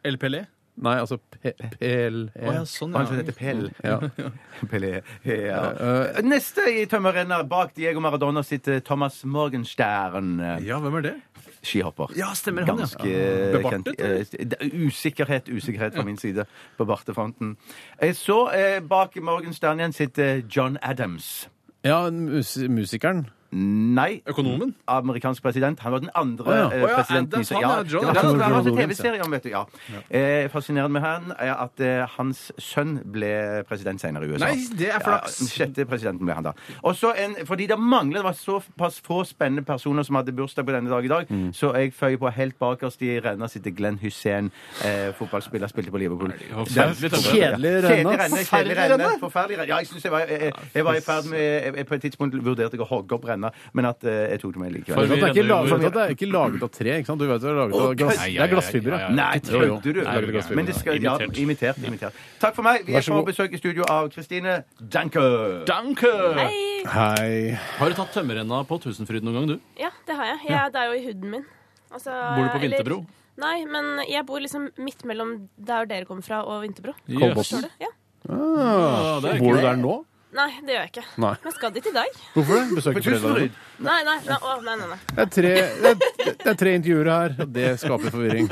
El Pelé?
Nei, altså P- E. PL.
Å ja, sånn,
Han som
ja.
heter Pell.
Ja.
Pelé. Ja. Neste i tømmerrenna bak Diego Maradona sitter Thomas Morgenstern.
Ja, hvem er det?
Skihopper.
Ja, stemmer han, ja.
Ganske eh,
Ah. Bebartet,
kjent. eh, det er Usikkerhet, usikkerhet fra min side på bartefronten. Eh, Så eh, bak Morgenstern igjen sitter John Adams.
ja mus musikeren.
Nei.
Økonomen?
Amerikansk president. Han var den andre
Å ja.
eh,
Å ja,
presidenten.
Adams,
i-
han er John
det var han som-
Adams.
han var
Ronald Reagan,
TV-serie om, vet du. Ja. Eh, Fascinerende med han er at eh, hans sønn ble president senere i USA.
Nei, det er flaks.
Ja, den sjette presidenten ble han da. Og så en, fordi det mangler, det var såpass få spennende personer som hadde bursdag på denne dag i dag,
Mm.
så jeg føyer på helt bakerst i renna sitter Glenn Hussein, eh, fotballspiller, spilte på Liverpool.
Forferdelig tømmer.
Kjedelig
Kjedelig
renna.
renne. Kjedelig renne. Forferdelig renne. Ja, jeg synes jeg var, jeg, jeg var i ferd med jeg, jeg, På et tidspunkt vurderte jeg å hogge opp renna, men at eh, jeg tok det med
Sånn at
likevel.
Det er ikke laget, sånn at det er ikke laget av tre. ikke sant? Du vet det er laget av glass,
Nei, ja,
det er
ja,
glassfiber.
ja, ja,
ja.
ja.
Nei,
Jo, jo.
trodde du?
Det er glassfiber,
Men det skal, ja,
Imitert.
imitert. imitert. Takk for meg. Vi
Vær
er
så
på
god.
besøk i studio av Kristine Danker.
Danke!
Hei.
Har du tatt tømmerrenna på Tusenfryd noen gang, du?
Ja, det har jeg. jeg Det er jo i huden min. Altså,
Bor du på
eller-
Vinterbro?
Nei, men jeg bor liksom midt mellom der dere kommer fra og Vinterbro.
Kolbotn.
Forstår du? Ja.
Ja, det er
Bor du
ikke-
der nå?
Nei, det gjør jeg ikke.
Nei.
Men jeg skal dit i dag.
Hvorfor det? Besøker foreldrene?
Tusenfryd.
Nei, nei, nei, å, nei, nei, nei.
Det er, tre, det, er, det er tre intervjuer her, og det skaper forvirring.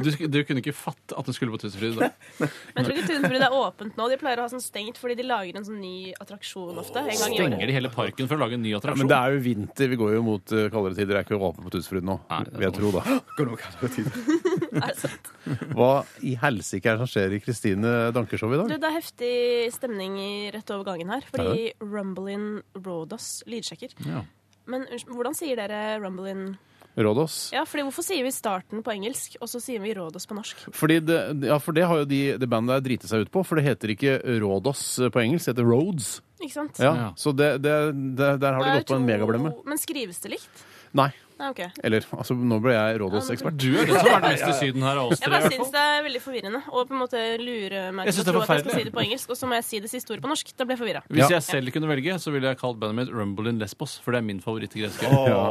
Du, sk- du kunne ikke fatte at du skulle på Tusenfryd i dag.
Men jeg tror ikke Tusenfryd er åpent nå. De pleier å ha sånn stengt fordi de lager en sånn ny attraksjon ofte. En gang i året.
Stenger de hele parken for å lage en ny attraksjon?
Men det er jo vinter, vi går jo mot eh, kaldere tider. Det er ikke åpent på Tusenfryd nå,
Nei, det er
vil jeg tro, da.
Er det sant?
Hva i helsike er det som skjer i Kristine Dankeshow i
Du,
dag?
det er heftig stemning i- rett over gangen her, fordi Rumblin Rodos lydsjekker.
Ja.
Men unnskyld, hvordan sier dere Rumblin
Rådås?
Ja, fordi hvorfor sier vi starten på engelsk, og så sier vi Rodos på norsk?
Fordi det, ja, for det har jo de, det bandet der driti seg ut på, for det heter ikke Rådås eh, på engelsk, det heter Roads.
Ikke sant?
Ja,
Ja.
Så det, det, det, der har
Det
de
er
gått på en
to-
megablemme.
Men skrives det likt?
Nei.
Nei, ok.
Eller altså, nå ble jeg Rådås-ekspert.
Du er den som er den mest i Syden her av oss tre. i
Jeg bare
hvert
syns
fall.
det er veldig forvirrende å på en måte lure meg
Jeg
til
synes det er
å tro at jeg skal
forferdelig.
si det på engelsk, og så må jeg si det siste ordet på norsk. Da ble jeg forvirra.
Hvis jeg selv kunne velge, så ville jeg kalt bandet mitt Rumble in Lesbos, for det er min favoritt i greske.
Åh, ja.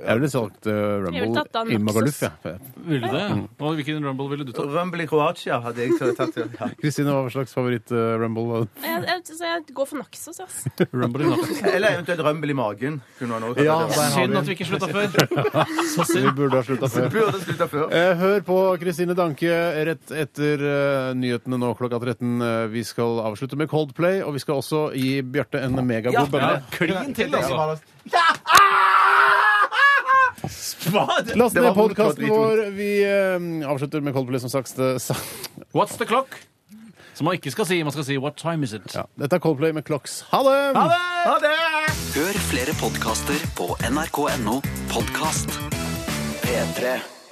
Jeg ville sagt eh,
Jeg ville
Rumble
tatt Dan
i Magaluf.
Naxos.
Ja.
Ville det? Og hvilken Rumble ville du tatt?
Rumble i Kroatia hadde jeg tatt. Ja.
Kristine, hva slags eh, favoritt-Rumble?
Jeg, jeg, så jeg går for Naxos, ass.
Rumble in Naxos.
Eller eventuelt Rumble i magen. Kunne han også hatt
Ja,
det.
der har
Synd
vi
at
den.
vi ikke slutta før. Så
Vi
synd.
burde ha slutta før.
Burde slutta før.
Eh, Hør på Kristine Danke rett etter eh, nyhetene nå klokka 13. Eh, Vi skal avslutte med Coldplay, og vi skal også gi Bjarte en megagod bønne.
Klin til, altså.
Last
Det
ned
var vondt,
podkasten
det var
vår. Vi eh, avslutter med Coldplay som sagt. eh, sa-
What's the clock? Som man ikke skal si. Man skal si What time is it?
Ja. Dette er Coldplay med Clocks. Ha det!
Ha det!
Hør flere podkaster på nrk.no podkast. P3.